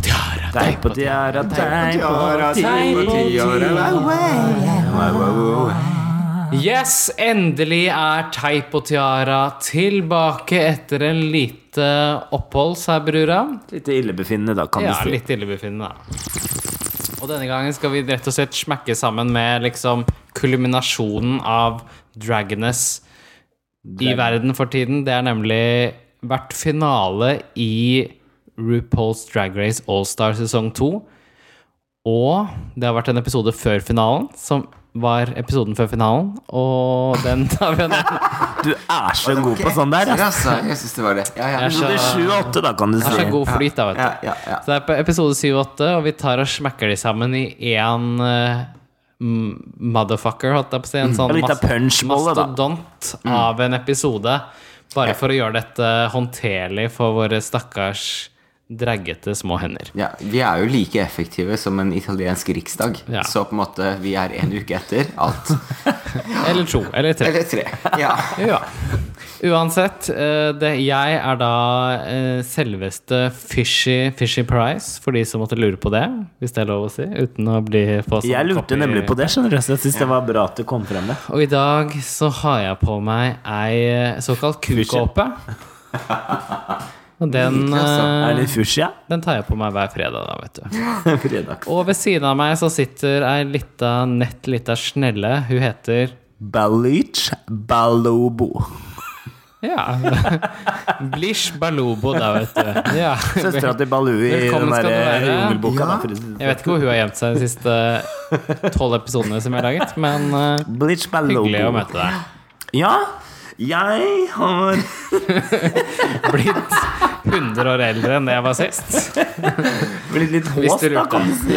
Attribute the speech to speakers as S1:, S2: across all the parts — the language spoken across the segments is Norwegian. S1: Teip på tiara, teip på
S2: Tiara,
S1: teip på
S2: tiara,
S3: Yes, endelig er Teip og Tiara tilbake etter en lite opphold, sa brura.
S1: Litt illebefinnende, da, kan
S3: Ja,
S1: du si.
S3: litt illebefinnende, da. Og denne gangen skal vi rett og slett smekke sammen med liksom kulminasjonen av Dragoness i verden for tiden. Det er nemlig vært finale i RuPaul's Drag Race Allstar sesong 2. Og det har vært en episode før finalen, som var episoden før finalen. Og den tar vi jo ned.
S1: Du er så god på sånn der.
S2: Ekstra,
S1: ass.
S2: altså. Jeg syns det var det. Ja, ja.
S3: Jeg er så-
S1: Det er sju og åtte, da, kan du
S3: Det er
S1: si.
S3: så god flyt, da, vet du.
S2: Ja, ja, ja.
S3: Så det er på episode 7-8, og vi tar og smekker de sammen i én motherfucker, holdt jeg på å si. En sånn
S1: litt av
S3: mas-
S1: Mm. punchbolle, da. Mm.
S3: mastodont av en episode. Bare for å gjøre dette håndterlig for våre stakkars draggete små hender.
S2: Ja, vi er jo like effektive som en italiensk riksdag.
S3: Ja.
S2: Så på en måte vi er en uke etter alt.
S3: Eller to. Eller tre.
S2: Eller tre. Ja.
S3: Ja. Uansett, eh, det, jeg er da eh, selveste Fishy, fishy Price, for de som måtte lure på det, hvis det er lov å si, uten å bli få sånn
S1: Jeg lurte
S3: copy-
S1: nemlig på det, skjønner du, så jeg syns det var bra at du kom frem med.
S3: Og i dag så har jeg på meg ei eh, såkalt kukåpe. Og den,
S2: altså.
S3: eh,
S1: Er det fushia?
S3: den tar jeg på meg hver fredag, da, vet du.
S1: Fredag.
S3: Og ved siden av meg så sitter ei lita, nett lita snelle. Hun heter
S1: Balich Balobo.
S3: Ja. Blish Balobo, da, vet du. Ja.
S1: Søstera til Baloo i den
S3: Velkommen skal
S1: der eh,
S3: du være.
S1: jungelboka.
S2: Ja.
S1: da, for å si det. sånn.
S3: Jeg vet ikke hvor hun har gjemt seg de siste tolv episodene som jeg har laget, men eh,
S1: Bleach Balobo.
S3: hyggelig å møte deg.
S1: Ja, jeg har
S3: Blitt 100 år eldre enn det jeg var sist.
S1: blitt litt
S3: Hvis
S1: hås,
S3: du
S1: da,
S3: lurte.
S1: kan du si.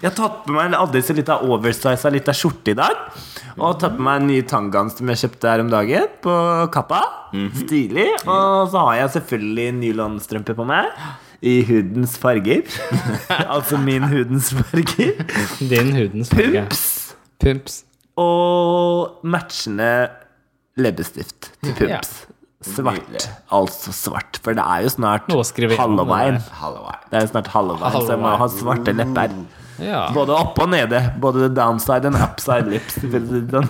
S1: Jeg har tatt på meg en aldri så lita oversiza lita skjorte i dag. Og tatt på meg en ny tangan som jeg kjøpte her om dagen, på Kappa.
S3: Mhm.
S1: Stilig. Og så har jeg selvfølgelig nylonstrømper på meg. I hudens farger. altså min hudens farger.
S3: Din hudens farge.
S1: Pumps.
S3: Pumps.
S1: Og matchende leppestift til
S3: Ja.
S1: pumps. Svart. Altså svart. For det er jo snart
S3: Nå skriver jeg om det.
S1: halloween.
S2: Halloween.
S1: Det er jo snart halloween, så jeg må
S3: Halloween.
S1: ha svarte lepper.
S3: Mm. Ja.
S1: Både oppe og nede. Både downside and upside lips. for å si det sånn.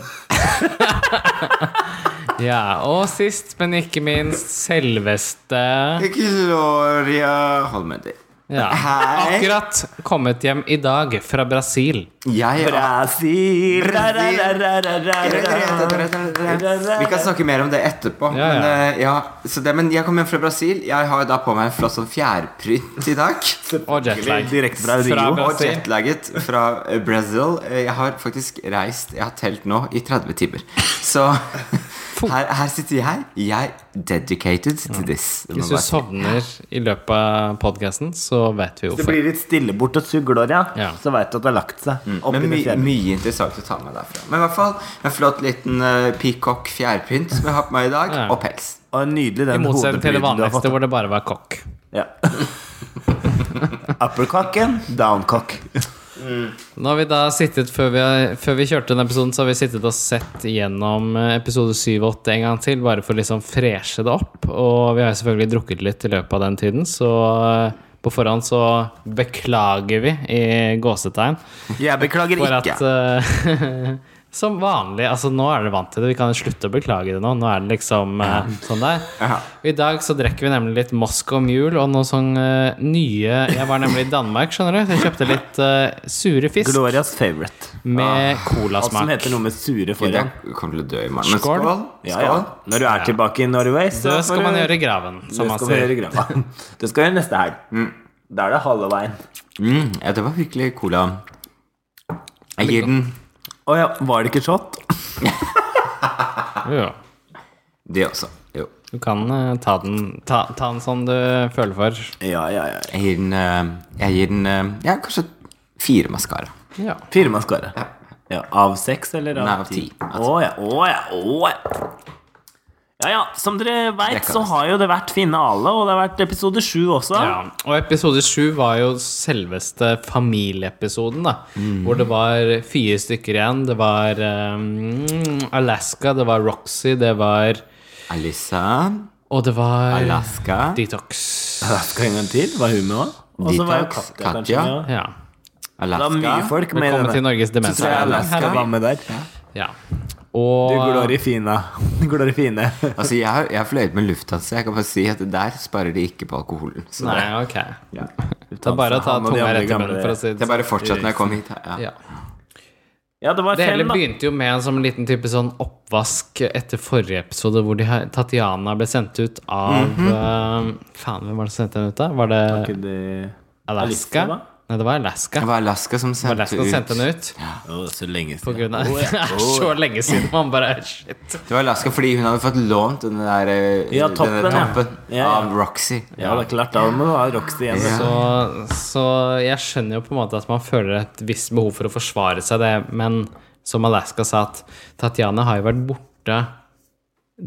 S3: Ja, og sist, men ikke minst, selveste
S2: Gloria Holmedi.
S3: ja.
S2: Hei.
S3: Akkurat kommet hjem i dag fra Brasil.
S2: Jeg er
S1: Brasil
S2: Vi kan snakke mer om det etterpå.
S3: Ja, ja.
S2: Men, eh, ja, så det, men jeg kom hjem fra Brasil. Jeg har da på meg en flott sånn fjærprynt i dag.
S3: Og jetlag.
S1: Direkte fra Rio.
S3: Fra
S2: Og
S3: Brasil.
S2: jetlagget fra eh, Brazil. Eh, Jeg har faktisk reist Jeg har telt nå i 30 timer. Så her, her sitter jeg. Jeg er dedicated
S1: Mm.
S2: to this. Det må
S3: Hvis du
S2: bare-
S1: sånn
S3: sovner i løpet av podkasten, så vet vi
S1: Det
S3: hvorfor.
S1: blir litt stille bort og sugg, Gloria.
S3: Ja. Mm.
S1: Så veit du at det har lagt seg. Opp
S2: Men
S1: i det
S2: my,
S1: fjerde.
S2: mye interessant å ta med derfra. Men i hvert fall en flott liten uh, peacock fjærpynt som jeg har på meg i dag,
S3: Ja.
S2: og pels.
S1: Og nydelig
S3: I
S1: den
S3: motsetning til det
S1: hodeplyden du har fått.
S3: vanligste, hvor det bare var kokk.
S1: Ja. Uppercocken, downcock.
S3: Nå har vi da sittet, før vi, har- før vi kjørte den episoden, så har vi sittet og sett gjennom eh, episode 7 og 8 en gang til, bare for å liksom freshe det opp. Og vi har jo selvfølgelig drukket litt i løpet av den tiden, så eh, på forhånd så beklager vi i gåsetegn
S2: Jeg beklager
S3: for at eh, Som vanlig, altså nå er dere vant til det, vi kan jo slutte å beklage det nå. Nå er det liksom eh, sånn der.
S2: Ja.
S3: I dag så drikker vi nemlig litt Moscow Mule og noe sånn eh, nye Jeg var nemlig i Danmark, skjønner du, så jeg kjøpte litt eh, sure fisk.
S1: Glorias favorite.
S3: Med
S1: Alt som
S3: colasmak.
S1: heter noe med sure
S2: Jeg
S1: foran.
S2: kommer til å dø i morgen. Men
S3: Skål.
S2: skål.
S1: Ja, ja. Når du er tilbake i Norway, så
S3: Det
S1: får
S3: skal man gjøre i graven, som
S1: det
S3: man
S1: skal man
S3: sier.
S1: gjøre i graven. Det skal vi gjøre neste helg.
S3: Mm.
S1: Da er det halvveien.
S2: Mm, ja, det var virkelig cola. Jeg gir den
S1: Å ja, var det ikke shot?
S3: Jo,
S2: det også. Jo.
S3: du kan eh, ta den ta, ta den som du føler for.
S1: Ja, ja, ja.
S2: Jeg gir den, eh, jeg gir den eh, Ja, kanskje fire maskara.
S3: Ja.
S1: Fire man skårer. Ja, av seks eller
S2: Nei,
S1: av
S2: av
S1: ti?
S2: ti.
S1: Å ja, å ja, å ja. Ja ja, som dere veit,
S2: Det kan
S1: så
S2: jeg si.
S1: har jo det vært finale, og det har vært episode sju også.
S3: ja. Og episode sju var jo selveste familieepisoden, da.
S1: Mm.
S3: Hvor det var fire stykker igjen. Det var eh, Alaska, det var Roxy, det var
S2: Alisa,
S3: Og det var
S2: Alaska
S3: Detox.
S1: Skal en gang til? Var hun med òg? Og så var jo
S2: Detox,
S1: Katja, kanskje.
S2: Katja.
S3: Ja.
S1: Ja. Det var mye
S2: Alaska.
S1: folk med i
S3: Velkommen
S1: denne.
S3: til Norges
S1: Så jeg
S3: demensarena.
S1: Alaska var med der.
S3: Ja.
S1: Du
S3: Og
S1: Glorifina. Glorifine.
S2: Altså, jeg har, jeg har fløyet med Lufthansa. Jeg kan bare si at der sparer de ikke på alkoholen. Så
S3: Nei,
S2: det,
S3: ok. Det er bare å ta
S1: Han og de
S3: tunga
S1: andre
S3: rett i munnen,
S1: gamle-
S3: for å si det sånn.
S2: det bare fortsatt når jeg kom hit. Ja.
S3: Ja.
S1: Ja, det var
S3: Det hele
S1: fem, da.
S3: begynte jo med en sånn liten type sånn oppvask etter forrige episode, hvor de, her- Tatiana ble sendt ut av
S1: Mhm.
S3: eh, Faen, hvem var det som sendte henne ut, da? Var det
S1: Ikke det-
S3: Alaska?
S1: Alice, da?
S3: Nei, det var Alaska.
S2: Det var Alaska som sendte
S3: Alaska
S2: ut
S3: sendte henne ut.
S1: Å, så lenge
S3: På grunn av Det er så lenge siden man bare Shit.
S2: Det var Alaska fordi hun hadde fått lånt den der, eh,
S1: Ja, toppen,
S2: denne
S1: ja.
S2: toppen
S1: Ja, ja.
S2: av Roxy.
S1: Ja, det er klart. Da må du ha Roxy sånn. igjen. vet du.
S2: Ja.
S3: Så, så jeg skjønner jo på en måte at man føler et visst behov for å forsvare seg det, men som Alaska sa, at Tatjana har jo vært borte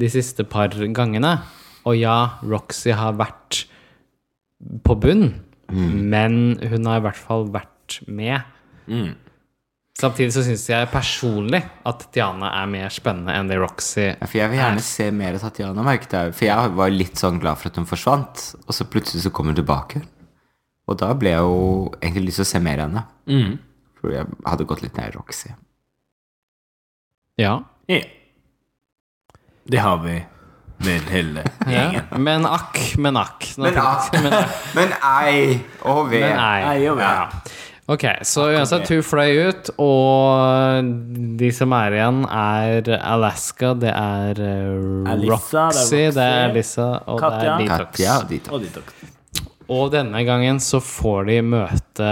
S3: de siste par gangene. Og ja, Roxy har vært på bunn, men hun har i hvert fall vært med. Samtidig så syns jeg personlig at Tatjana er mer spennende enn det Roxy
S2: Ja, For jeg vil gjerne se mer av Tatjana, merket jeg. For jeg var litt sånn glad for at hun forsvant, og så plutselig så kom hun tilbake. Og da ble jeg jo egentlig lyst til å se mer av henne. For jeg hadde gått litt ned i Roxy.
S3: Ja.
S1: Ja. Det har vi vel hele
S3: ja.
S1: gjengen.
S3: Men akk, men akk. Nå-
S2: Men ei! Men ei! Og ved.
S3: Men ei.
S1: Nei, jo, ja.
S3: Ok, så uansett, hun fløy ut, og de som er igjen, er Alaska, det er eh,
S1: Alissa, det er
S3: Roxy, det er
S1: Roxy,
S3: Alissa, og det
S1: Katja.
S3: er Detox.
S2: Katja og Dita.
S1: Og detox.
S3: Og denne gangen så får de møte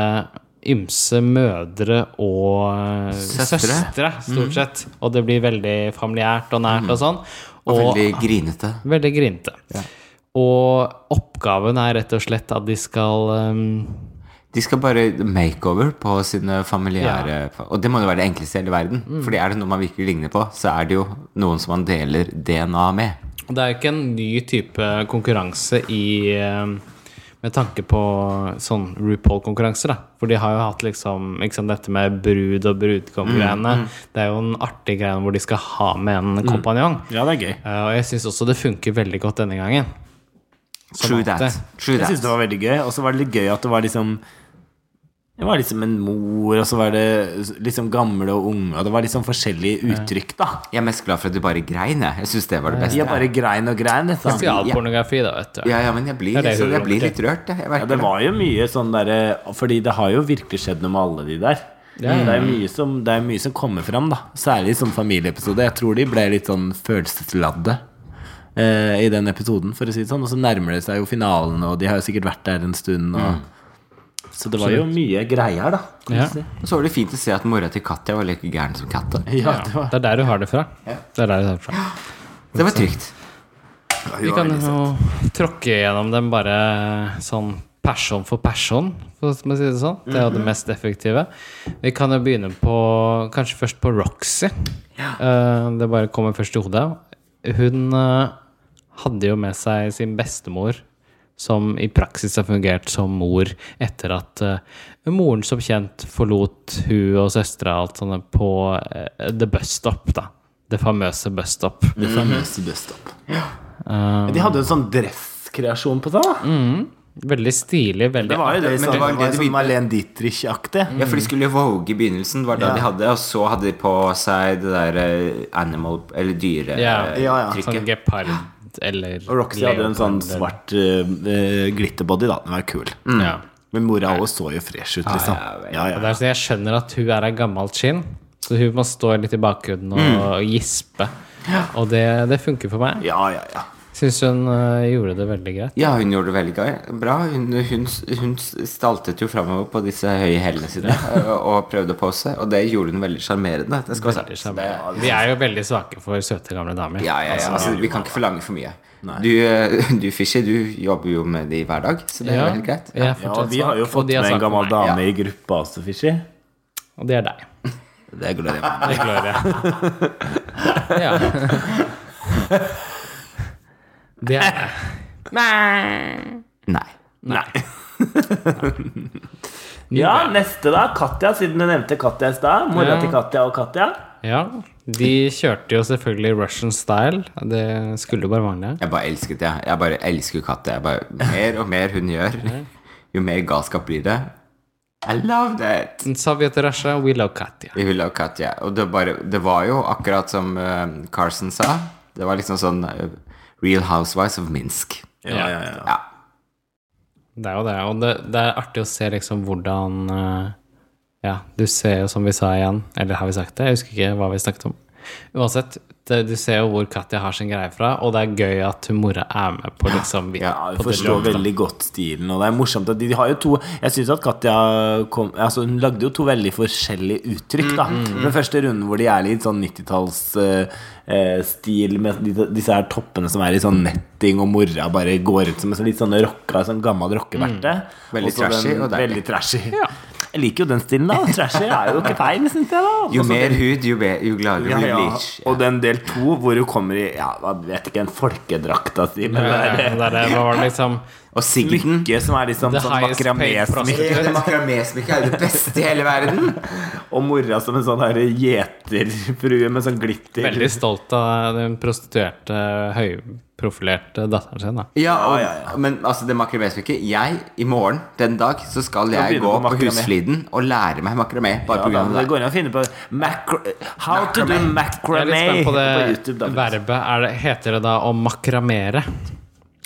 S3: ymse mødre og eh,
S2: Søstre.
S3: søstre,
S1: Mm.
S3: stort sett. Og det blir veldig familiært og nært og sånn.
S2: Mm. Og veldig grinete.
S3: Veldig grinte. Og oppgaven er rett og slett at de skal ehm,
S2: De skal bare makeover på sine familiære Og det må jo være det enkleste i hele verden.
S3: Mm.
S2: Fordi er det noe man virkelig ligner på, så er det jo noen som man deler DNA med.
S3: Det er jo ikke en ny type konkurranse i eh, Med tanke på sånn RuPaul-konkurranser, da. For de har jo hatt liksom ikke sant, dette med brud og brudgom-greiene. Det er jo en artig greie hvor de skal ha med en kompanjong.
S1: Ja, det er gøy.
S3: Eh, og jeg syns også det funker veldig godt denne gangen.
S2: True that.
S3: alltid.
S2: True
S1: Jeg synes
S2: that.
S1: det var veldig gøy. Og så var det litt gøy at det var liksom Det var liksom en mor, og så var det liksom gamle og unge, og det var liksom forskjellige uttrykk, da.
S2: Jeg er mest glad for at du bare grein, jeg. Jeg syns det var det beste.
S1: De er bare grein og grein. Liksom.
S3: Spesialpornografi, da, vet du.
S2: Ja, ja, men jeg blir,
S3: Ja, det er
S2: så jeg
S3: humor,
S2: blir
S3: det.
S2: litt rørt, jeg. jeg
S1: Ja,
S2: merker
S1: det
S2: det.
S1: var jo mye sånn derre Fordi det har jo virkelig skjedd noe med alle de der. Det, er mye som, det er mye som kommer fram, da. Særlig i sånn familieepisode. Jeg tror de ble litt sånn følelsesladde eh, i den episoden, for å si det sånn. Og så nærmer det seg jo finalen, og de har jo sikkert vært der en stund. Og... Så det var jo mye greier, da. Kan
S3: Ja.
S1: du si.
S2: Og så var det fint å se at mora til Katja var like gæren som katta.
S1: Ja, det var
S3: Det er der du har det fra. Det er der du har det fra.
S2: Det var trygt.
S3: Vi kan jo tråkke gjennom dem bare sånn person for person, for å si det sånn. Det er jo det
S1: Mhm.
S3: mest effektive. Vi kan jo begynne på kanskje først på Roxy. Eh, Det bare kommer først i hodet. Hun eh, hadde jo med seg sin bestemor, som i praksis har fungert som mor etter at eh, moren som kjent forlot hun og søstera og alt sånt på eh, the bus stop, da. Det famøse bus stop.
S1: det famøse best up. Mhm. De hadde jo en sånn dresskreasjon på seg, da.
S3: Veldig stilig, veldig
S1: Det var jo det,
S2: men det
S1: sånn, det Mm.
S2: var jo det de
S1: sånn
S2: begynte-
S1: Marlene Dietrich-aktig.
S2: Ja, for de skulle vogue i begynnelsen, var det
S1: Ja.
S2: de hadde. Og så hadde de på seg det der eh, animal Eller eh,
S3: Ja.
S1: Ja,
S2: dyretrykket.
S1: ja.
S3: Sånn gepard eller
S1: Og Roxy hadde en sånn
S3: leopard eller-
S1: svart eh, eh, glitterbody, da. Den var kul.
S3: Mm. Ja.
S1: Men mora òg så jo fresh ut, liksom. Ja,
S3: Og
S1: ja.
S3: det er sånn, jeg skjønner at hun er av gammelt skinn, så hun må stå litt i bakgrunnen og, og gispe. Og det, det funker for meg.
S1: Mm. ja, ja, ja.
S3: Syns hun øh, gjorde det veldig greit.
S2: Ja, hun gjorde det veldig gøy- bra. Hun, hun, hun staltet jo framover på disse høye hælene sine og, og prøvde å pose, og det gjorde hun veldig sjarmerende. Det skal
S3: Det er
S2: være sagt. Det-
S3: samme. Vi er jo veldig svake for søte, gamle damer.
S2: Ja, ja, ja. Altså, vi kan ikke forlange for mye. Du, eh, du Fishy, du jobber jo med de hver dag, så det er
S3: Ja,
S2: jo helt greit.
S3: jeg er
S1: ja
S3: fortsatt
S1: vi har
S3: svak,
S1: jo
S3: og
S1: fått
S3: de er
S1: med en
S3: svake for
S1: gammel
S3: meg.
S1: dame i gruppa også, Fishy.
S3: Og det er deg.
S1: Det er glad i.
S3: Det klarer jeg. Ja. Det er deg.
S2: Nei.
S1: Nei. ja, neste, da. Katja, siden du nevnte Katja i stad. Mora
S3: Ja.
S1: til Katja og Katja.
S3: Ja, de kjørte jo selvfølgelig Russian style. Det skulle jo bare mangle.
S2: Jeg bare elsket det. Jeg bare elsker katter. Jeg bare, mer og mer hun gjør. jo mer galskap blir det. I loved it!
S3: Soviet Russia, we love Katya.
S2: Vi ville ha Katja. Og det, bare, det var jo akkurat som eh, Carson sa. Det var liksom sånn eh, Real Housewives of Minsk.
S1: Ja, ja, ja.
S2: Ja.
S3: Det er jo det, og det, det er artig å se liksom hvordan eh, Ja, du ser jo som vi sa igjen, eller har vi sagt det? Jeg husker ikke hva vi snakket om. Uansett, det, du ser jo hvor Katja har sin greie fra, og det er gøy at hun mora er med på liksom vi-
S1: Ja,
S3: på
S1: du
S3: det
S1: forstår
S3: løpet.
S1: veldig godt stilen, og det er morsomt at de, de har jo to Jeg synes at Katja kom, altså hun lagde jo to veldig forskjellige uttrykk, da. Den første runden hvor de er litt sånn 90-tallsstil eh, stil med de- disse her toppene som er i sånn netting, og mora bare går ut som en sånn litt sånn rocka, sånn gammel rockeverte.
S2: Veldig
S1: så den-
S2: trashy og deilig.
S1: Veldig trashy. Jeg liker jo den stilen, da. Trashy er jo ikke feil, syns jeg, da.
S2: Jo
S1: Også
S2: mer hud, jo, be, jo gladere
S1: ja,
S2: blir
S1: ja.
S2: Bleach.
S1: Og den del to, hvor hun kommer i ja, hva vet ikke, en folkedrakta si. Men
S3: Ja,
S1: det
S3: ja,
S1: er
S3: det er det, hva var det liksom
S2: Og Sigden.
S1: Lykke som er liksom
S3: The
S1: sånn
S3: highest paid
S1: makramé-smykke.
S3: prostitute.
S2: Det makramésmykket er jo det beste i hele verden!
S1: Og mora som en sånn her gjeterfrue med sånn glitter.
S3: Veldig stolt av den prostituerte, høyprofilerte datteren sin. da
S2: Ja, og,
S1: Ja, ja,
S2: Men altså, det makramésmykket Jeg, i morgen, den dag, så skal jeg
S1: begynner
S2: gå
S1: på
S2: på
S1: makramé.
S2: Husfliden og lære meg makramé. Bare
S1: Ja, da,
S2: på grunn av
S1: det
S2: det.
S1: går an å finne på macra How to do
S3: Jeg er
S1: macramé
S3: litt spent på det
S1: YouTube. Da.
S3: verbet. Er det, heter det da å makramere?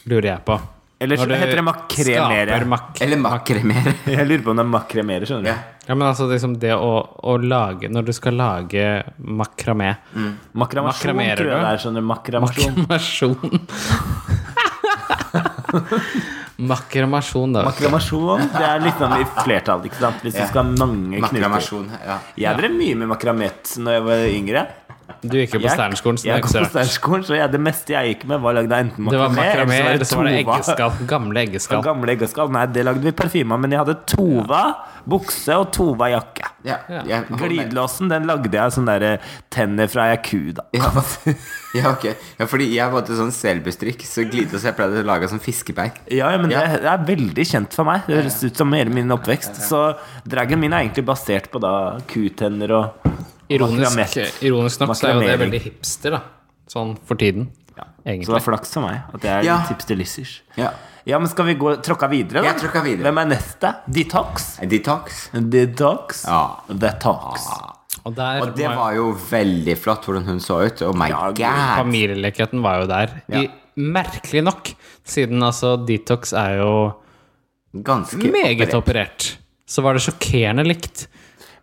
S3: Lurer jeg på.
S1: Eller så
S3: Når du
S1: heter det makremere.
S3: skaper Mak
S2: Eller makramere.
S1: Jeg lurer på om det er makramerer, skjønner du.
S2: Ja.
S3: ja, men altså liksom det å, å lage Når du skal lage makramé
S1: Makramasjon,
S3: Makramerer
S1: tror
S3: du?
S1: jeg det er. Skjønner du. Makramasjon.
S3: Makramasjon. makramasjon, da.
S1: Makramasjon, det er liksom i flertall, ikke sant? Hvis
S2: Ja.
S1: du skal ha mange knuter.
S2: Makramasjon. Ja.
S1: Jeg drev mye med makramett når jeg var yngre.
S3: Du gikk jo på
S1: Jeg-
S3: Steinerskolen, så det
S1: jeg
S3: er ikke
S1: kom
S3: så
S1: på
S3: rart.
S1: Steinerskolen, så jeg, det meste jeg gikk med, var lagd av enten
S3: Det var
S1: makramé
S3: makramé,
S1: eller
S3: eller så var det
S1: tova.
S3: eggeskall. Gamle eggeskall.
S1: Gamle eggeskall. Nei, det lagde vi parfyme av, men jeg hadde Tova bukse og Tova jakke.
S2: Ja.
S3: Ja.
S2: Jeg holder med.
S1: Glidelåsen den lagde jeg av sånne der, eh, tenner fra ei ku, da.
S2: Ja, ja, ok. Ja, fordi jeg var til sånn selbustrikk, så glidelås jeg pleide å lage sånn fiskebein.
S1: Ja, ja, men
S2: Ja.
S1: Det, det er veldig kjent for meg. Det høres ut som hele min oppvekst. Så dragen min er egentlig basert på da kutenner og
S3: Ironisk,
S1: makramett.
S3: ironisk nok så er jo det
S1: Makramering.
S3: veldig hipster, da. Sånn for tiden.
S1: Så det
S3: Egentlig.
S1: er flaks for meg at jeg er
S2: Ja.
S1: litt tipsdelissers.
S2: Ja.
S1: Ja, men skal vi gå tråkka videre, da?
S2: Jeg tråkka videre.
S1: Hvem er neste? Detox?
S2: Detox.
S1: Detox?
S2: Ja.
S1: Detox.
S3: Og der
S2: Og det
S3: må jeg-
S2: var jo veldig flott hvordan hun så ut. Oh my
S1: Ja,
S2: god.
S3: Familielekheten var jo der. I, merkelig nok, siden altså Detox er jo
S2: Ganske
S3: meget
S2: operert.
S3: operert. Så var det sjokkerende likt.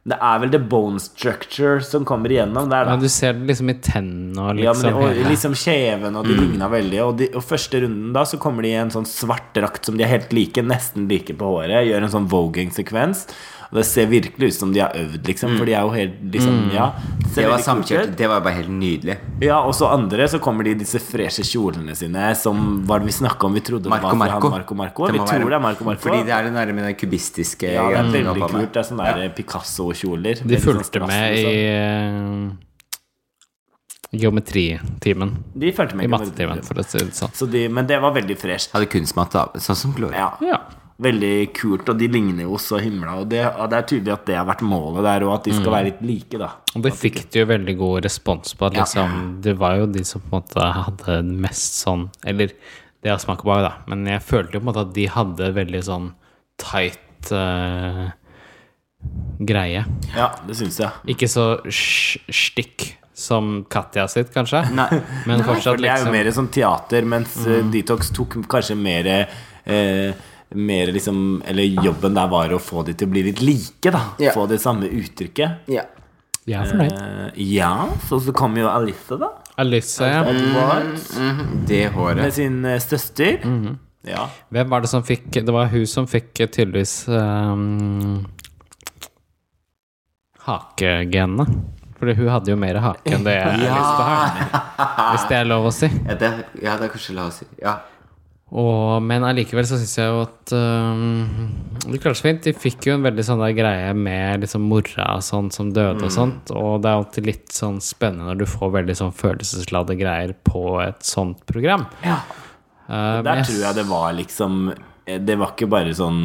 S1: Det er vel the bone structure som kommer igjennom der, da.
S3: Men du ser det liksom i tennene og
S1: Ja, men,
S3: liksom
S1: og
S3: hele-
S1: liksom kjeven,
S2: Mm.
S1: og de ligna veldig. Og, de, og første runden da så kommer de i en sånn svart drakt som de er helt like, nesten like på håret. Gjør en sånn voging-sekvens. Og det ser virkelig ut som de har øvd, liksom. For de er jo helt liksom Ja. ser
S2: Det Mm.
S1: veldig kult
S2: var
S1: ut.
S2: samkjørt. Det var bare helt nydelig.
S1: Ja, og så andre så kommer de i disse freshe kjolene sine som Hva var det vi snakka om? Vi trodde
S2: Marco
S1: det var fra han
S2: Marco.
S1: Marco Marco.
S2: Det
S1: Vi
S2: må
S1: tror
S2: være-
S1: det er Marco Marco.
S2: Fordi det er den der med den kubistiske
S1: ja, det er
S2: greien hun
S1: veldig
S2: har på med.
S1: kult. Det er sånne der Picasso-kjoler.
S3: De
S1: Veldig sånn
S3: fulgte
S1: strass,
S3: med i
S1: liksom.
S3: eh, geometritimen.
S1: De fulgte
S3: I
S1: med
S3: mattetimen, for å si det sånn.
S1: Så de, men det var veldig fresht.
S2: Hadde kunstmat, da. Sånn som Gloria.
S1: Ja.
S3: Ja.
S1: Veldig kult, og de ligner jo så himla. Og det, og det er tydelig at det har vært målet der, og at de
S3: Mm.
S1: skal være litt like, da.
S3: Og det fikk du jo veldig god respons på. At liksom, Det var jo de som på en måte hadde den mest sånn Eller det jeg smaker på, da. Men jeg følte jo på en måte at de hadde veldig sånn tight eh, greie.
S1: Ja, det syns jeg.
S3: Ikke så sj- stikk som Katja sitt, kanskje.
S2: Nei.
S3: Men fortsatt
S1: For det er jo
S3: liksom Mm.
S1: mer sånn teater, mens eh, Detox tok kanskje mer eh, mer liksom, eller Jobben der var å få de til å bli litt like, da.
S2: Ja.
S1: Få det samme uttrykket.
S2: Ja.
S3: Jeg er fornøyd.
S1: Eh, ja, så, så kom jo Alice, da.
S3: Alice, ja.
S1: Edward,
S3: Mm,
S2: Mhm. Det håret.
S1: med sin eh, søster.
S3: Mm-hmm.
S1: Ja.
S3: Hvem var det som fikk Det var hun som fikk eh, tydeligvis um, hakegenene. Fordi hun hadde jo mer hake enn det jeg har lyst til å ha. Hvis det er lov å si.
S2: Ja, det, ja, det er kanskje la oss si. Ja.
S3: Og, men allikevel så syns jeg jo at um, Det klarte seg fint. De fikk jo en veldig sånn der greie med liksom mora og sånn som døde
S1: Mm.
S3: og sånt. Og det er alltid litt sånn spennende når du får veldig sånn følelsesladde greier på et sånt program.
S1: Ja.
S3: Eh, men
S1: Der
S3: jeg
S1: tror jeg det var liksom eh, Det var ikke bare sånn